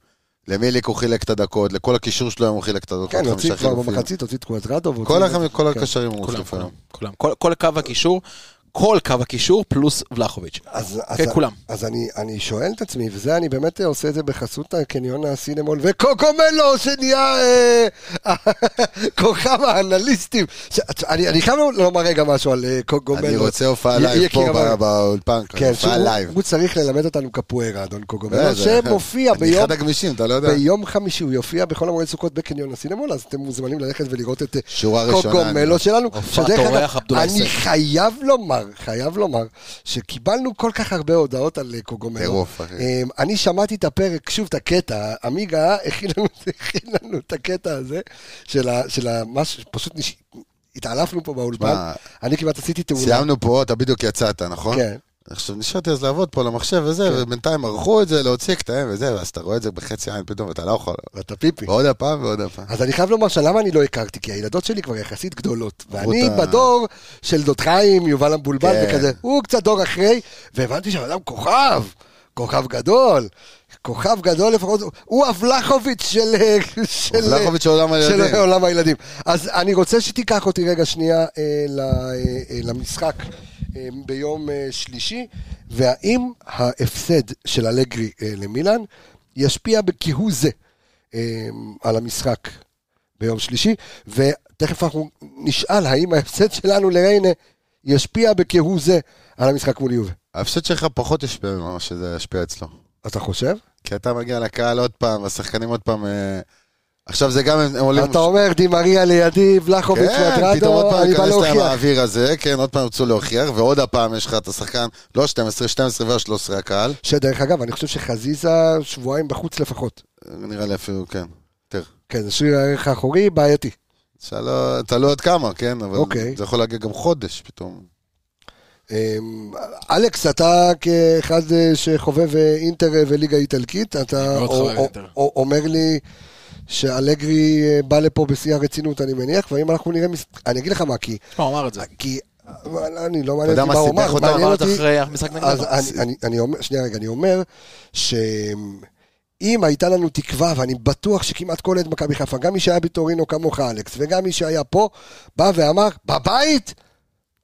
למיליק הוא חילק את הדקות, לכל הקישור שלו היום הוא חילק את הדקות.
כן,
חמישה
הוציא כבר
חילופים.
במחצית, הוציא את קואטרדו.
כל החמ- כל
כן.
הקשרים הוא
כולם,
חילק
כולם,
היום.
כולם. כל- כל קו הקישור, כל קו הקישור פלוס ולחוביץ'.
אז, אז,
כן, כולם.
אז אני, אני שואל את עצמי, וזה אני באמת עושה את זה בחסות הקניון הסינמול וקוקומלו, שנהיה אה, (laughs) כוכב האנליסטים. ש, אני, אני חייב לומר רגע משהו על אה, קוקומלו.
אני רוצה הופעה
י-
לייב
יקיר
פה
אמר-
בא- באולפן, כאן,
כן,
הופעה
שהוא-
לייב.
הוא צריך ללמד אותנו קפוארה, אדון קוקומלו,
אה, זה-
שמופיע
אני
לא, ביום...
אחד הגמישים, אתה לא יודע.
ביום חמישי הוא יופיע בחול המועד סוכות בקניון הסינמול, אז אתם מוזמנים ללכת ולראות את אה,
שורה ראשונה,
קוקומלו
אני-
שלנו.
הופעת
שדרך אגב,
אורח, עבדולאי
אני
סק.
חייב לומר, חייב לומר, שקיבלנו כל כך הרבה הודעות על אה, קוקומלו.
טירוף, אחי.
אמ, אני שמעתי את הפרק, שוב, את הקטע, עמיגה הכין לנו, (laughs) הכין לנו את הקטע הזה, של ה- של ה... משהו, פשוט נש- התעלפנו פה באולפן,
מה?
אני כמעט עשיתי תאונה.
סיימנו פה, אתה בדיוק יצאת, נכון?
כן.
עכשיו נשארתי אז לעבוד פה על המחשב וזה, ובינתיים ערכו את זה, להוציא קטעים וזה, ואז אתה רואה את זה בחצי עין פתאום, ואתה לא יכול.
ואתה פיפי.
ועוד הפעם ועוד הפעם.
אז אני חייב לומר שלמה אני לא הכרתי, כי הילדות שלי כבר יחסית גדולות. ואני
אותה.
בדור של דוד חיים, יובל המבולבל
כן.
וכזה, הוא קצת דור אחרי, והבנתי שהאדם כוכב, כוכב גדול, כוכב גדול לפחות, הוא הבלחוביץ' של... של-
הבלחוביץ' של עולם הילדים.
של עולם הילדים. אז אני רוצה שתיקח אותי רגע שנייה אה, ל- אה, אה, למשחק אה, ביום אה, שלישי, והאם ההפסד של אלגרי אה, למילאן ישפיע בכהוא זה אה, על המשחק ביום שלישי, ותכף אנחנו נשאל האם ההפסד שלנו לריינה ישפיע בכהוא זה על המשחק מול יובה.
ההפסד שלך פחות ישפיע ממה שזה ישפיע אצלו.
אתה חושב?
כי אתה מגיע לקהל עוד פעם, והשחקנים עוד פעם... אה, עכשיו זה גם הם הם עולים...
אתה אומר, דימריה לידי, ולחוביץ
לא, כן, פתאום עוד
ואטרדו,
פעם
אני בא
ייכנס להם
להוכיח.
האוויר הזה, כן, עוד פעם ירצו להוכיח, ועוד הפעם יש לך את השחקן, לא 12, 12 וה-13 הקהל,
שדרך אגב, אני חושב שחזיזה שבועיים בחוץ לפחות.
נראה לי אפילו, כן, יותר.
כן, זה שריר הערך האחורי, בעייתי.
שלא- תלוי עוד כמה, כן, אבל
אוקיי.
זה יכול להגיע גם חודש פתאום.
אמ, אלכס, אתה כאחד אה, שחובב אה, אינטר אה, וליגה איטלקית, אתה
מאוד
או-
חובב
או-
אינטר.
או- אומר לי שאלגרי אה, בא לפה בשיא הרצינות, אני מניח, ואם אנחנו נראה... מס- אני אגיד לך מה, כי...
תשמע, הוא אמר את זה.
כי... אבל אני לא
אתה
מעניין אותי
יודע
מה
מה
הוא
סיבך
אמר,
אותו?
מעניין
אמרת
אותי...
אחרי המשחק נגד
אז אני, אני, אני אומר, שנייה רגע, אני אומר שאם הייתה לנו תקווה, ואני בטוח שכמעט כל עד מכבי חיפה, גם מי שהיה בטורינו כמוך, אלכס, וגם מי שהיה פה, בא ואמר, בבית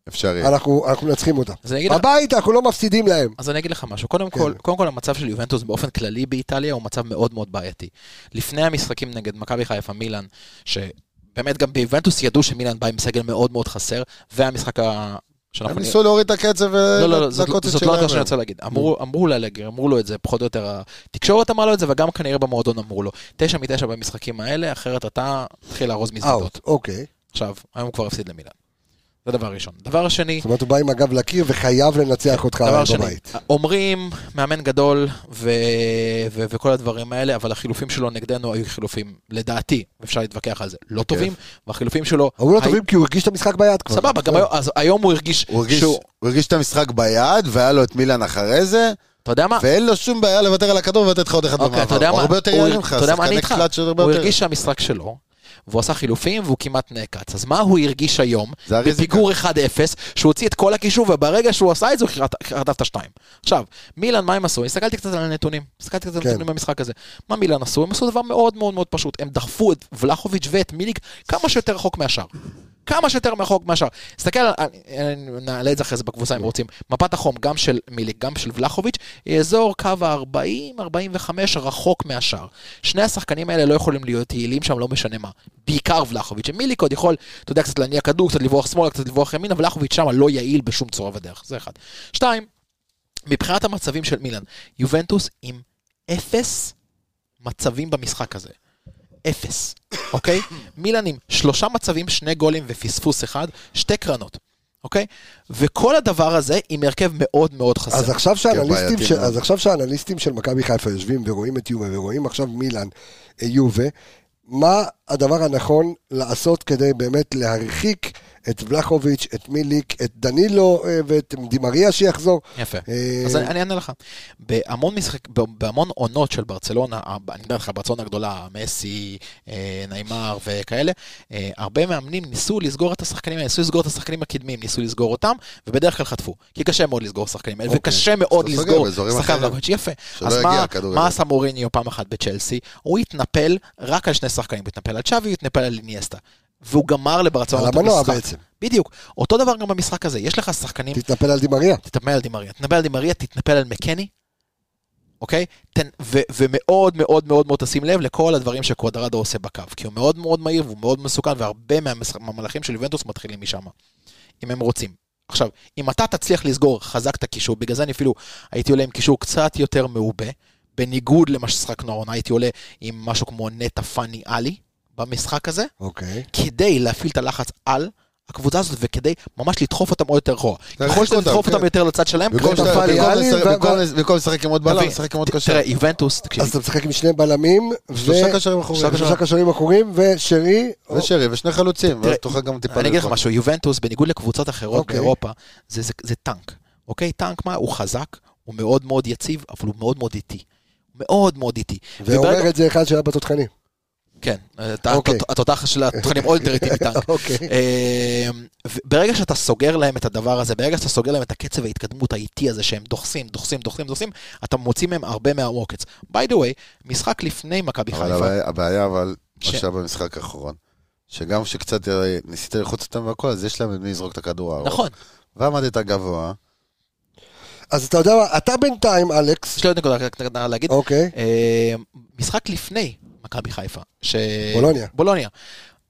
אפשרי.
אנחנו, אנחנו מנצחים אותם.
כן. אז אני אגיד לך-
בבית אנחנו לא מפסידים להם.
אז אני אגיד לך משהו. קודם
כן.
כל, קודם כל המצב של יובנטוס באופן כללי באיטליה הוא מצב מאוד מאוד בעייתי. לפני המשחקים נגד מכבי חיפה מילאן, שבאמת גם ביובנטוס ידעו שמילאן בא עם סגל מאוד מאוד חסר, והמשחק ה...
הם
שאנחנו
ניסו להוריד את הקצב
לא, לא, לא, זאת לא-
ולקוץ את
זאת לא
שלהם.
הנקודה שאני רוצה להגיד. אמרו- אמרו לאלגרי, אמרו לו את זה, פחות או יותר התקשורת אמרה לו את זה, וגם כנראה במועדון אמרו לו. תשע מתשע במשחקים האלה, אחרת אתה תתחיל לארוז מזוודות.
אאוט, אוקיי.
עכשיו, היום הוא כבר הפסיד למילאן. זה דבר ראשון. דבר שני,
זאת אומרת, הוא בא עם הגב לקיר וחייב לנצח אותך
דבר
עליי
שני,
בבית.
אומרים, מאמן גדול ו- ו- וכל הדברים האלה, אבל החילופים שלו נגדנו היו חילופים, לדעתי, אפשר להתווכח על זה, לא טובים, והחילופים שלו...
אמרו לו
היו-
טובים נכון. כי הוא הרגיש את המשחק ביד כבר.
סבבה, גם היום- אז היום הוא הרגיש
הוא הרגיש-
שהוא...
הוא הרגיש את המשחק ביד, והיה לו את מילן אחרי זה,
אתה יודע
אה.
מה?
ואין לו שום בעיה לוותר על הכדור ולתת לך עוד אחד
אוקיי, אתה
במעבר.
יודע
הוא
מה?
הרבה יותר
הוא-
יעיל ממך,
אתה יודע מה, אני
שחקני
איתך.
קלאץ' שעוד הרבה
הוא
יותר.
הרגיש שהמשחק שלו, והוא עשה חילופים והוא כמעט נעקץ. אז מה הוא הרגיש היום,
זה הריזיקה.
בפיגור 1-0, שהוא הוציא את כל הקישור, וברגע שהוא עשה את זה, הוא חרט- חטף את השתיים. עכשיו, מילאן, מה הם עשו? הסתכלתי קצת על הנתונים. הסתכלתי קצת על
כן.
הנתונים במשחק הזה. מה מילאן עשו? הם עשו דבר מאוד מאוד מאוד פשוט. הם דחפו את ולחוביץ' ואת מיליק כמה שיותר רחוק מהשאר. כמה שיותר רחוק מהשאר. תסתכל, על- אני- אני- נעלה את זה אחרי זה בקבוצה אם רוצים. מפת החום, גם של מיליק, גם של ולחוביץ', היא אזור קו ה-40-45 רחוק מהשאר. שני השחקנים האלה לא יכולים להיות יעילים שם, לא משנה מה. בעיקר ולחוביץ'. מיליק עוד יכול, אתה יודע, קצת להניע כדור, קצת לברוח שמאלה, קצת לברוח ימינה, ולחוביץ' שם לא יעיל בשום צורה ודרך. זה אחד. שתיים, מבחינת המצבים של מילאן, יובנטוס עם אפס מצבים במשחק הזה. אפס, אוקיי? מילאן עם שלושה מצבים, שני גולים ופספוס אחד, שתי קרנות, אוקיי? וכל הדבר הזה עם הרכב מאוד מאוד חסר.
אז עכשיו שהאנליסטים,
בעייתי
של,
מאוד.
אז עכשיו שהאנליסטים של מכבי חיפה יושבים ורואים את יובה ורואים עכשיו מילאן, אה, יובה, מה הדבר הנכון לעשות כדי באמת להרחיק את ולחוביץ', את מיליק, את דנילו אה, ואת דימריה שיחזור?
יפה.
אה,
אז אני אני אענה לך. בהמון משחק, ב- בהמון עונות של ברצלונה, ה- אני מדבר לך, ברצלונה הגדולה, מסי, אה, נעימר וכאלה, אה, הרבה מאמנים ניסו לסגור את השחקנים, האלה, ניסו לסגור את השחקנים הקדמיים, ניסו לסגור אותם, ובדרך כלל חטפו. כי קשה מאוד לסגור שחקנים האלה, וקשה מאוד
אתה סוגר
לסגור
באזורים
שחקן
אחרים.
ולחוביץ'. יפה.
שלא
אז
יגיע
מה-
הכדור
מה
אליו.
עשה מוריניו פעם אחת בצ'לסי? הוא התנפל רק על שני שחקנים, הוא התנפל על צ'אבי, הוא התנפל על איניאסטה. והוא גמר לברצלונה
על
את
המנוע
המשחק.
בעצם.
בדיוק. אותו דבר גם במשחק הזה. יש לך שחקנים
תתנפל על דימריה.
תתנפל על דימריה. תתנפל על דימריה, תתנפל על מקני, אוקיי? תן, ו, ומאוד מאוד מאוד מאוד תשים לב לכל הדברים שקוודרדו עושה בקו. כי הוא מאוד מאוד מהיר והוא מאוד מסוכן, והרבה מהמשח- מהמהלכים של יובנטוס מתחילים משם. אם הם רוצים. עכשיו, אם אתה תצליח לסגור חזק את הקישור, בגלל זה אני אפילו הייתי עולה עם קישור קצת יותר מעובה, בניגוד למה ששחקנו העונה, הייתי עולה עם משהו כמו נטע פאני עלי במשחק הזה,
אוקיי.
כדי להפעיל את הלחץ על הקבוצה הזאת וכדי ממש לדחוף אותם עוד יותר אחורה.
להרחיק
ככל שאתה
אותם,
תדחוף
כן.
אותם יותר לצד שלהם,
במקום
ככל
שאתה-
שאתה...
נפל לי
במקום
עלי
לשחק-
ו-
במקום לש- במקום לשחק עם עוד בלם,
תבין,
לשחק עם עוד
תראה,
קשר.
יובנטוס, תקשיב,
אז אתה משחק עם שני בלמים, ו-
שלושה קשרים אחוריים.
שלושה קשרים אחורים, ושרי, או-
ושרי ושני חלוצים, ואז
תראה,
תוכל גם טיפה...
אני אגיד לך
ללחוץ.
משהו, יובנטוס, בניגוד לקבוצות אחרות
אוקיי.
באירופה, זה- זה זה טנק. אוקיי? טנק מה? הוא חזק, הוא מאוד מאוד יציב, אבל הוא מאוד מאוד איטי. מאוד מאוד איטי. וברגע-
ואומר את זה אחד שהיה בתותחנים.
כן, את-
אוקיי.
את- התותח של התותחנים עוד
(laughs)
יותר איטי מטנק.
אוקיי.
אה, ו- ברגע שאתה סוגר להם את הדבר הזה, ברגע שאתה סוגר להם את הקצב ההתקדמות האיטי הזה שהם דוחסים, דוחסים, דוחסים, דוחסים, אתה מוציא מהם הרבה מהווקץ. by the way, משחק לפני מכבי
אבל
חיפה,
הבעיה- הבעיה, אבל, מה
ש-
שהיה במשחק האחרון, שגם כשקצת אה, ניסית ללחוץ אותם והכל, אז יש להם למי לזרוק את הכדור הארוך.
נכון,
ועמדת גבוה,
אז אתה יודע מה, אתה בינתיים, אלכס,
יש לי עוד נקודה קטנה להגיד.
אוקיי,
אה, משחק לפני מכבי חיפה, ש...
בולוניה.
בולוניה.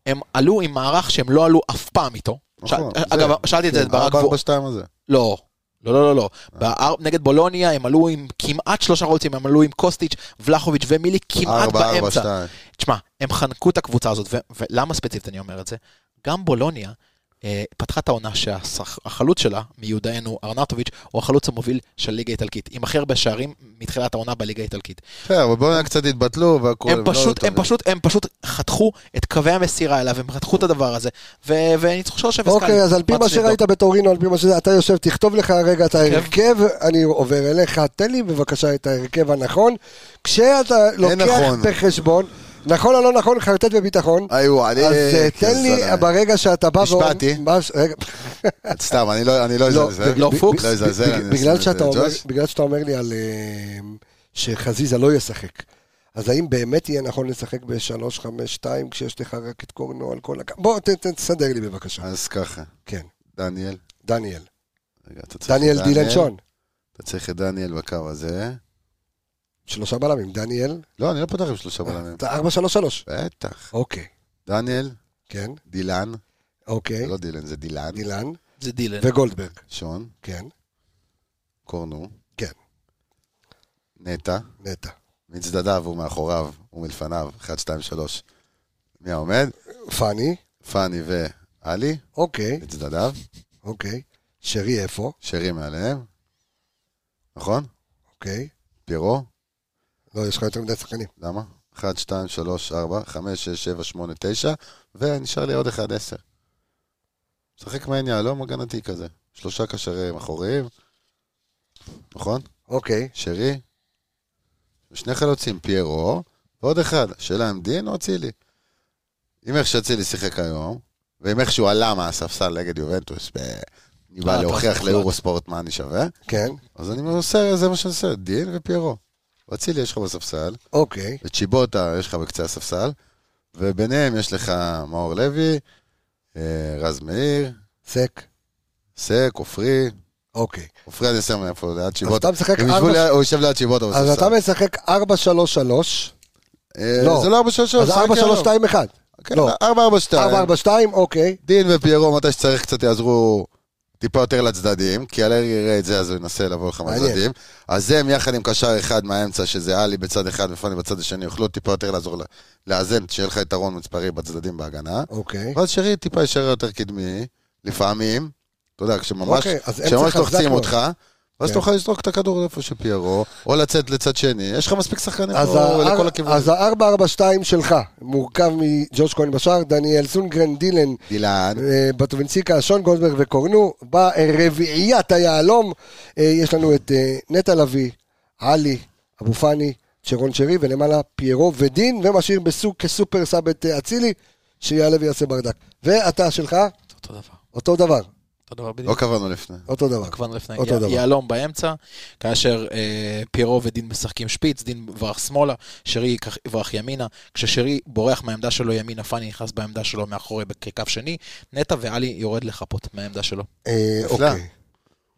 הם עלו עם מערך שהם לא עלו אף פעם איתו.
נכון,
שאל-
זה-
אגב, שאלתי את זה את ברק
ארבע,
וו-
ארבע, שתיים הזה.
לא. לא, לא, לא, לא. באר- נגד בולוניה הם עלו עם כמעט שלושה רוצים, הם עלו עם קוסטיץ', ולחוביץ' ומילי כמעט
ארבע, ארבע,
באמצע.
שתיים.
תשמע, הם חנקו את הקבוצה הזאת, ו- ולמה ספציפית אני אומר את זה? גם בולוניה אה, פתחה את העונה שהחלוץ שלה, מיודענו ארנטוביץ', הוא החלוץ המוביל של ליגה איטלקית, עם הכי הרבה שערים מתחילת העונה בליגה האיטלקית.
כן, אבל בואו קצת התבטלו והכל.
הם
לא
פשוט,
היו
הם
טובים.
פשוט, הם פשוט חתכו את קווי המסירה אליו, הם חתכו את הדבר הזה, ו- וניצחו 3-0
אוקיי, אז על פי מה
רצתי
שראית בטורינו, על פי מה שזה, אתה יושב, תכתוב לך רגע
כן.
את ההרכב, אני עובר אליך, תן לי בבקשה את ההרכב הנכון. כשאתה לוקח
נכון.
בחשבון, נכון או לא נכון, חרטט בביטחון,
היו, אני...
אז אה,
כן,
תן לי
זלמה.
ברגע שאתה בא ואומר...
נשבעתי.
מש- רגע,
סתם, אני לא אני אה? לא
לא,
אזלזל.
לא, פוקס.
לא אזלזל. אני
בגלל
אעשה את
שאתה
זה
אה,
אומר-
לג'וש.
בגלל שאתה אומר לי על אה, שחזיזה לא ישחק. אז האם באמת יהיה נכון לשחק ב-3-5-2 כשיש לך רק את קורנו על כל הכ... בוא, ת- ת- תסדר לי בבקשה.
אה,
אז ככה,
כן,
דניאל.
דניאל.
רגע, אתה צריך את
דניאל דילן שון.
אתה צריך את דניאל בקו הזה.
שלושה בלמים, דניאל.
לא, אני לא פותח עם
(laughs)
שלושה בלמים.
אתה 4-3-3.
בטח.
אוקיי.
דניאל,
כן,
דילן,
אוקיי.
אה?
זה לא דילן, זה דילן,
דילן
זה דילן.
וגולדברג.
שון,
כן,
קורנו,
כן,
נטע,
נטע.
מצדדיו, הוא מאחוריו, הוא מלפניו, 1, 2, 3. מי העומד?
פאני.
פאני ועלי,
אוקיי,
מצדדיו,
אוקיי. שרי איפה?
שרי מעליהם, נכון?
אוקיי.
פירו,
לא, יש לך יותר מדי שחקנים.
למה? 1, 2, 3, 4, 5, 6, 7, 8, 9, ונשאר לי עוד 1, 10. לא משחק מעין יהלום הגנתי כזה. שלושה קשרים אחוריים, נכון?
אוקיי.
שרי, שני חלוצים, פיירו, ועוד אחד, שאלה אם דין או אצילי. אם איך שאצילי שיחק היום, ואם איך שהוא עלה מהספסל נגד יובנטוס, ב... אני
אה,
בא
אתה
להוכיח
מוחלט.
ליורוספורט מה אני שווה,
כן,
אז אני עושה, זה מה שאני עושה, דין ופיירו. ואצילי יש לך בספסל,
אוקיי.
וצ'יבוטה יש לך בקצה הספסל, וביניהם יש לך מאור לוי, אה, רז מאיר,
סק,
סק, עופרי,
אוקיי.
עופרי אני שם איפה, ליד
אתה
צ'יבוטה.
משחק
הם ישבו
ארבע-
ליד- הוא יושב ליד צ'יבוטה
אז אתה
בספסל.
משחק 4-3-3,
אה,
לא.
זה לא 4-3-3.
אז 4-3-2-1.
כן,
לא.
4-4-2.
4-4-2, אוקיי.
דין ופיירו, מתי שצריך קצת יעזרו טיפה יותר לצדדים, כי הלר יראה את זה, אז הוא ינסה לבוא לך
מעניין.
מהצדדים. אז הם יחד עם קשר אחד מהאמצע, שזה עלי בצד אחד ופאני בצד השני, יוכלו טיפה יותר לעזור ל- לאזן, שיהיה לך יתרון מספרי בצדדים בהגנה.
אוקיי.
ואז שרי טיפה יישאר יותר קדמי, לפעמים, אתה יודע, כשממש
אוקיי, אז אמצע
כשממש
חזק
לוחצים
מאוד.
אותך, ואז
כן.
תוכל לזרוק את הכדור איפה שפיירו, או לצאת לצד שני, יש לך מספיק שחקנים
אז
פה
ה-
לכל הכיוונים.
אז ה-4-4-2 שלך מורכב מג'וש כהן בשער, דניאל סונגרן, דילן,
אילן,
אה, בטובינציקה, שון גולדברג וקורנו. ברביעיית היהלום אה, יש לנו את אה, נטע לביא, עלי, אבו פאני, שרון שרי, ולמעלה פיירו ודין, ומשאיר בסוג כסופר סאב את אה, אצילי, שיעלה ויעשה ברדק. ואתה שלך,
אותו דבר.
אותו דבר,
אותו דבר בדיוק.
לא קבענו לפני.
אותו דבר.
כבר לפני
אותו
יה-
דבר.
יהלום באמצע, כאשר אה, פיירו ודין משחקים שפיץ, דין ברח שמאלה, שרי ייקח- יברח ימינה, כששרי בורח מהעמדה שלו ימינה, פאני נכנס בעמדה שלו מאחורי כקו שני, נטע ועלי יורד לחפות מהעמדה שלו.
אה,
נפלא.
אוקיי.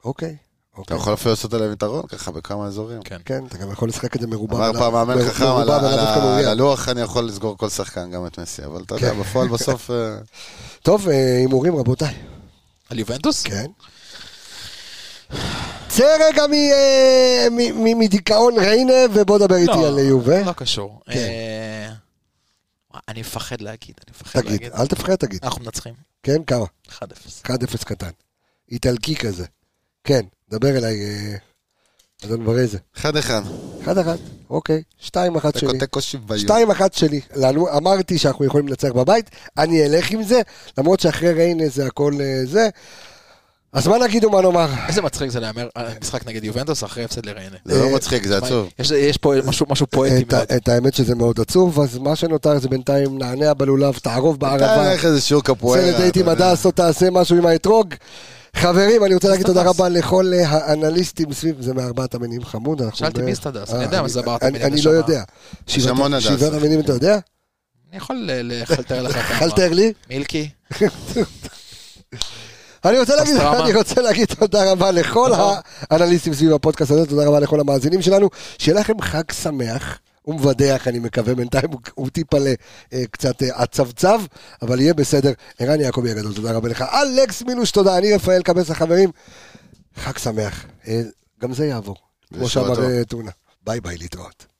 אוקיי.
אתה
אוקיי.
יכול אפילו לעשות עליהם יתרון ככה בכמה אזורים.
כן.
כן, אתה גם יכול לשחק את זה מרובע.
אמר
בלם-
פעם מאמן
מר-
חכם על
מרובע
ה-
בלם
על
דווקא
ה-
מאוים.
על הלוח, אני יכול לסגור כל שחקן, גם את מסי, אבל אתה יודע,
כן.
בפועל בסוף... אה,
טוב, אה, הימורים רבותיי.
על יובנטוס?
כן. צא רגע מ- אה, מ- מ- מדיכאון ריינה, ובוא דבר איתי
לא,
על יובה.
לא קשור.
כן.
אה, אני מפחד להגיד, אני מפחד
תגיד,
להגיד. אה.
אל תפחד, תגיד.
אנחנו מנצחים,
כן, כמה?
1-0.
1-0 קטן. איטלקי כזה. כן, דבר אליי, אה, אדון ברזה.
אחד אחד.
1-1, אוקיי. 2-1
תיקו
שלי.
תיקו שוויון.
2-1 שלי. לנו, אמרתי שאנחנו יכולים לנצח בבית, אני אלך עם זה, למרות שאחרי ריינה זה הכל אה, זה. אז מה נגיד ומה נאמר?
איזה מצחיק זה להמר על משחק נגד יובנטוס אחרי הפסד לריינה.
זה לא מצחיק, זה עצוב.
יש- יש פה משהו- משהו פואטי
את,
מאוד.
ה- את האמת שזה מאוד עצוב, אז מה שנותר זה בינתיים נענע בלולב, תערוב
אתה
בערבה,
הולך איזה שיעור קפוארה.
צא לדייט עם
אתה יודע.
הדס או תעשה משהו עם האתרוג. חברים, אני רוצה להגיד תודה רבה לכל אה, האנליסטים סביב, זה מארבעת המינים חמוד. אנחנו
שאלתי
ב-
מי סטדס, אני
אה,
יודע מה זה ארבעת
אני-
המינים,
אני
יש
לא
שם-
יודע. שבעת-
המון הדס.
שבעת המינים אתה יודע?
אני יכול אה, ל- לחלטר לך כמה.
אל תאר לי.
מילקי.
אני רוצה להגיד,
פסטרמה.
אני רוצה להגיד תודה רבה לכל האנליסטים סביב הפודקאסט הזה, תודה רבה לכל המאזינים שלנו. שיהיה לכם חג שמח ומבדח, אני מקווה, בינתיים הוא- הוא טיפה ל- אה, קצת אה, עצבצב, אבל יהיה בסדר. ערן יעקבי הגדול, תודה רבה לך. אלכס מילוש, תודה. אני רפאל קבס, החברים. חג שמח. אה, גם זה יעבור, כמו
ושבוע
שאמר
טוב.
אה, טונה. ביי ביי, להתראות.